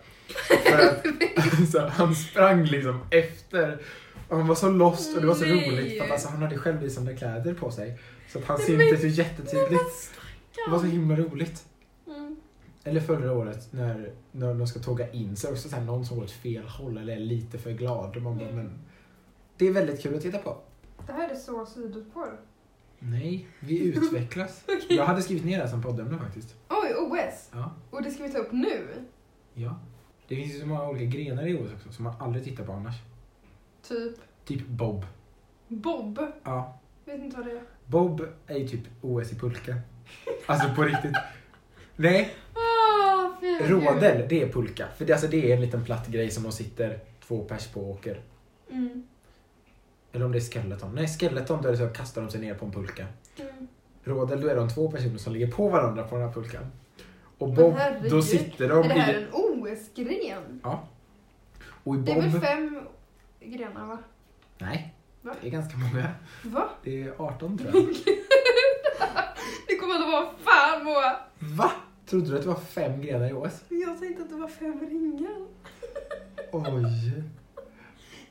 [SPEAKER 2] För att, så här, han sprang liksom efter. Och han var så lost och det var så
[SPEAKER 1] Nej.
[SPEAKER 2] roligt för att alltså, han hade självlysande kläder på sig. Så att han
[SPEAKER 1] Nej,
[SPEAKER 2] syntes
[SPEAKER 1] men-
[SPEAKER 2] ju jättetydligt. Det var så himla roligt.
[SPEAKER 1] Mm.
[SPEAKER 2] Eller förra året när, när de ska tåga in så är det också så här någon som går åt fel håll eller är lite för glad. Och man bara,
[SPEAKER 1] Mm.
[SPEAKER 2] men, det är väldigt kul att titta på.
[SPEAKER 1] Det här är så sidospår.
[SPEAKER 2] Nej, vi utvecklas. Jag hade skrivit ner det här som poddämne faktiskt.
[SPEAKER 1] Oj, OS.
[SPEAKER 2] Ja.
[SPEAKER 1] Och det ska vi ta upp nu.
[SPEAKER 2] ja. Det finns ju så många olika grenar i OS också som man aldrig tittar på annars.
[SPEAKER 1] Typ
[SPEAKER 2] Typ bob.
[SPEAKER 1] Bob.
[SPEAKER 2] Ja.
[SPEAKER 1] Vet inte vad det är.
[SPEAKER 2] Bob är ju typ OS i pulka. Alltså på riktigt. Nej,
[SPEAKER 1] Ah, fy herregud.
[SPEAKER 2] Rådel, det är pulka. För det, alltså, det är en liten platt grej som de sitter två pers på och åker.
[SPEAKER 1] Mm.
[SPEAKER 2] Eller om det är skeleton. Nej, skeleton då är det så att kastar de sig ner på en pulka.
[SPEAKER 1] Mm.
[SPEAKER 2] Rådel, då är de två personer som ligger på varandra på den här pulkan. Och
[SPEAKER 1] Men
[SPEAKER 2] Bob,
[SPEAKER 1] herregud,
[SPEAKER 2] då sitter
[SPEAKER 1] Är
[SPEAKER 2] de
[SPEAKER 1] det här
[SPEAKER 2] i...
[SPEAKER 1] en OS-gren?
[SPEAKER 2] Och i
[SPEAKER 1] Det är väl
[SPEAKER 2] Bob...
[SPEAKER 1] fem grenar va?
[SPEAKER 2] Nej,
[SPEAKER 1] Va?
[SPEAKER 2] det är ganska många.
[SPEAKER 1] Va?
[SPEAKER 2] Det är 18 tror jag.
[SPEAKER 1] Det kommer att vara fan vad...
[SPEAKER 2] Va? Trodde du att det var fem grenar i OS?
[SPEAKER 1] Jag tänkte att det var fem ringar.
[SPEAKER 2] Oj.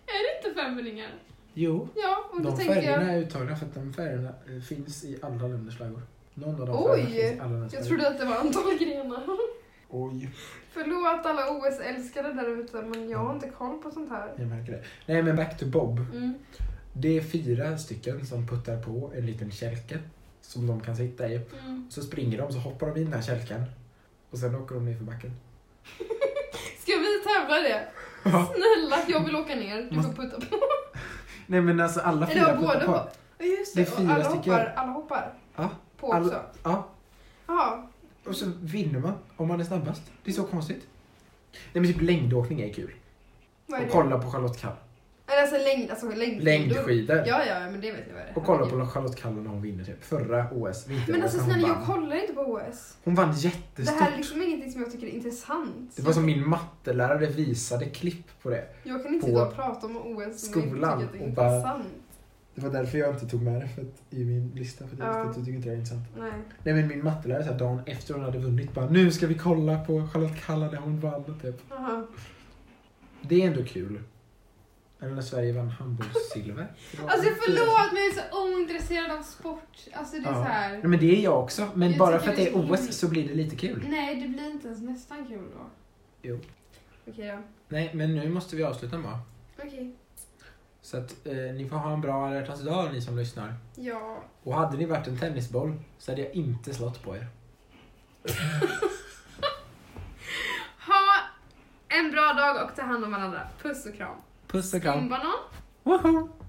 [SPEAKER 1] Är det inte fem ringar?
[SPEAKER 2] Jo.
[SPEAKER 1] Ja, och då
[SPEAKER 2] De
[SPEAKER 1] tänker
[SPEAKER 2] färgerna
[SPEAKER 1] jag...
[SPEAKER 2] är uttagna för att de färgerna eh, finns i alla länders flaggor. Någon av de
[SPEAKER 1] Oj!
[SPEAKER 2] färgerna finns i alla länders
[SPEAKER 1] Jag
[SPEAKER 2] flaggor.
[SPEAKER 1] trodde att det var antal grenar.
[SPEAKER 2] Oj,
[SPEAKER 1] Förlåt alla OS-älskare där ute, men jag har inte koll på sånt här.
[SPEAKER 2] jag märker det. Nej men back to Bob.
[SPEAKER 1] Mm.
[SPEAKER 2] Det är fyra stycken som puttar på en liten kälke som de kan sitta i.
[SPEAKER 1] Mm.
[SPEAKER 2] Så springer de, så hoppar de in i den här kälken. Och sen åker de ner för backen.
[SPEAKER 1] Ska vi tävla det? Snälla, jag vill åka ner. Du får putta på.
[SPEAKER 2] Nej men alltså alla
[SPEAKER 1] Eller
[SPEAKER 2] fyra
[SPEAKER 1] båda
[SPEAKER 2] puttar på.
[SPEAKER 1] hopp- Ja, Just
[SPEAKER 2] Det är
[SPEAKER 1] det, och
[SPEAKER 2] fyra
[SPEAKER 1] alla
[SPEAKER 2] stycken.
[SPEAKER 1] hoppar, alla hoppar
[SPEAKER 2] Ja,
[SPEAKER 1] på
[SPEAKER 2] alla-
[SPEAKER 1] också.
[SPEAKER 2] Ja,
[SPEAKER 1] Ja,
[SPEAKER 2] och så vinner man om man är snabbast. Det är så konstigt. Nej men typ längdåkning är kul.
[SPEAKER 1] vad är
[SPEAKER 2] Och
[SPEAKER 1] det?
[SPEAKER 2] kolla på Charlotte Kall.
[SPEAKER 1] Eller alltså, längd, alltså längdskidor.
[SPEAKER 2] Längdskidor.
[SPEAKER 1] Ja, ja, men det vet jag vad det är.
[SPEAKER 2] Och kolla på Charlotte Kall när hon vinner typ. Förra OS, vinter
[SPEAKER 1] Men alltså
[SPEAKER 2] hon
[SPEAKER 1] snälla,
[SPEAKER 2] vann.
[SPEAKER 1] jag kollar inte på OS.
[SPEAKER 2] Hon vann
[SPEAKER 1] Det
[SPEAKER 2] jättestort.
[SPEAKER 1] här är liksom ingenting som jag tycker är intressant.
[SPEAKER 2] Det var som min mattelärare visade klipp på det.
[SPEAKER 1] Jag kan inte
[SPEAKER 2] på
[SPEAKER 1] sitta och prata om OS som
[SPEAKER 2] skolan
[SPEAKER 1] jag inte tycker
[SPEAKER 2] och
[SPEAKER 1] att det
[SPEAKER 2] bara-
[SPEAKER 1] är intressant.
[SPEAKER 2] Det var därför jag inte tog med det för att, i min lista. För att jag
[SPEAKER 1] Ja.
[SPEAKER 2] visste att du tycker inte det är intressant.
[SPEAKER 1] Nej.
[SPEAKER 2] Nej men min mattelärare så här, dagen efter hon hade vunnit bara nu ska vi kolla på Charlotte Kalla när hon vann. Typ.
[SPEAKER 1] Aha.
[SPEAKER 2] Det är ändå kul. Eller när Sverige vann handbollssilver. Det var
[SPEAKER 1] Alltså
[SPEAKER 2] fyra-
[SPEAKER 1] förlåt, men jag är så ointresserad av sport. Alltså det är
[SPEAKER 2] Ja.
[SPEAKER 1] så här.
[SPEAKER 2] Nej, men det är jag också. Men
[SPEAKER 1] Jag
[SPEAKER 2] bara
[SPEAKER 1] tycker
[SPEAKER 2] för att
[SPEAKER 1] det
[SPEAKER 2] det
[SPEAKER 1] är
[SPEAKER 2] är
[SPEAKER 1] så
[SPEAKER 2] OS
[SPEAKER 1] himla-
[SPEAKER 2] så blir det lite kul.
[SPEAKER 1] Nej, det blir inte ens nästan kul då.
[SPEAKER 2] Jo.
[SPEAKER 1] Okej då.
[SPEAKER 2] Nej men nu måste vi avsluta med.
[SPEAKER 1] Okej.
[SPEAKER 2] Så att eh, ni får ha en bra alla hjärtans dag ni som lyssnar.
[SPEAKER 1] Ja.
[SPEAKER 2] Och hade ni varit en tennisboll så hade jag inte slått på er.
[SPEAKER 1] Ha en bra dag och ta hand om varandra. Puss och kram.
[SPEAKER 2] Puss och kram.
[SPEAKER 1] Simbanan.
[SPEAKER 2] Woohoo!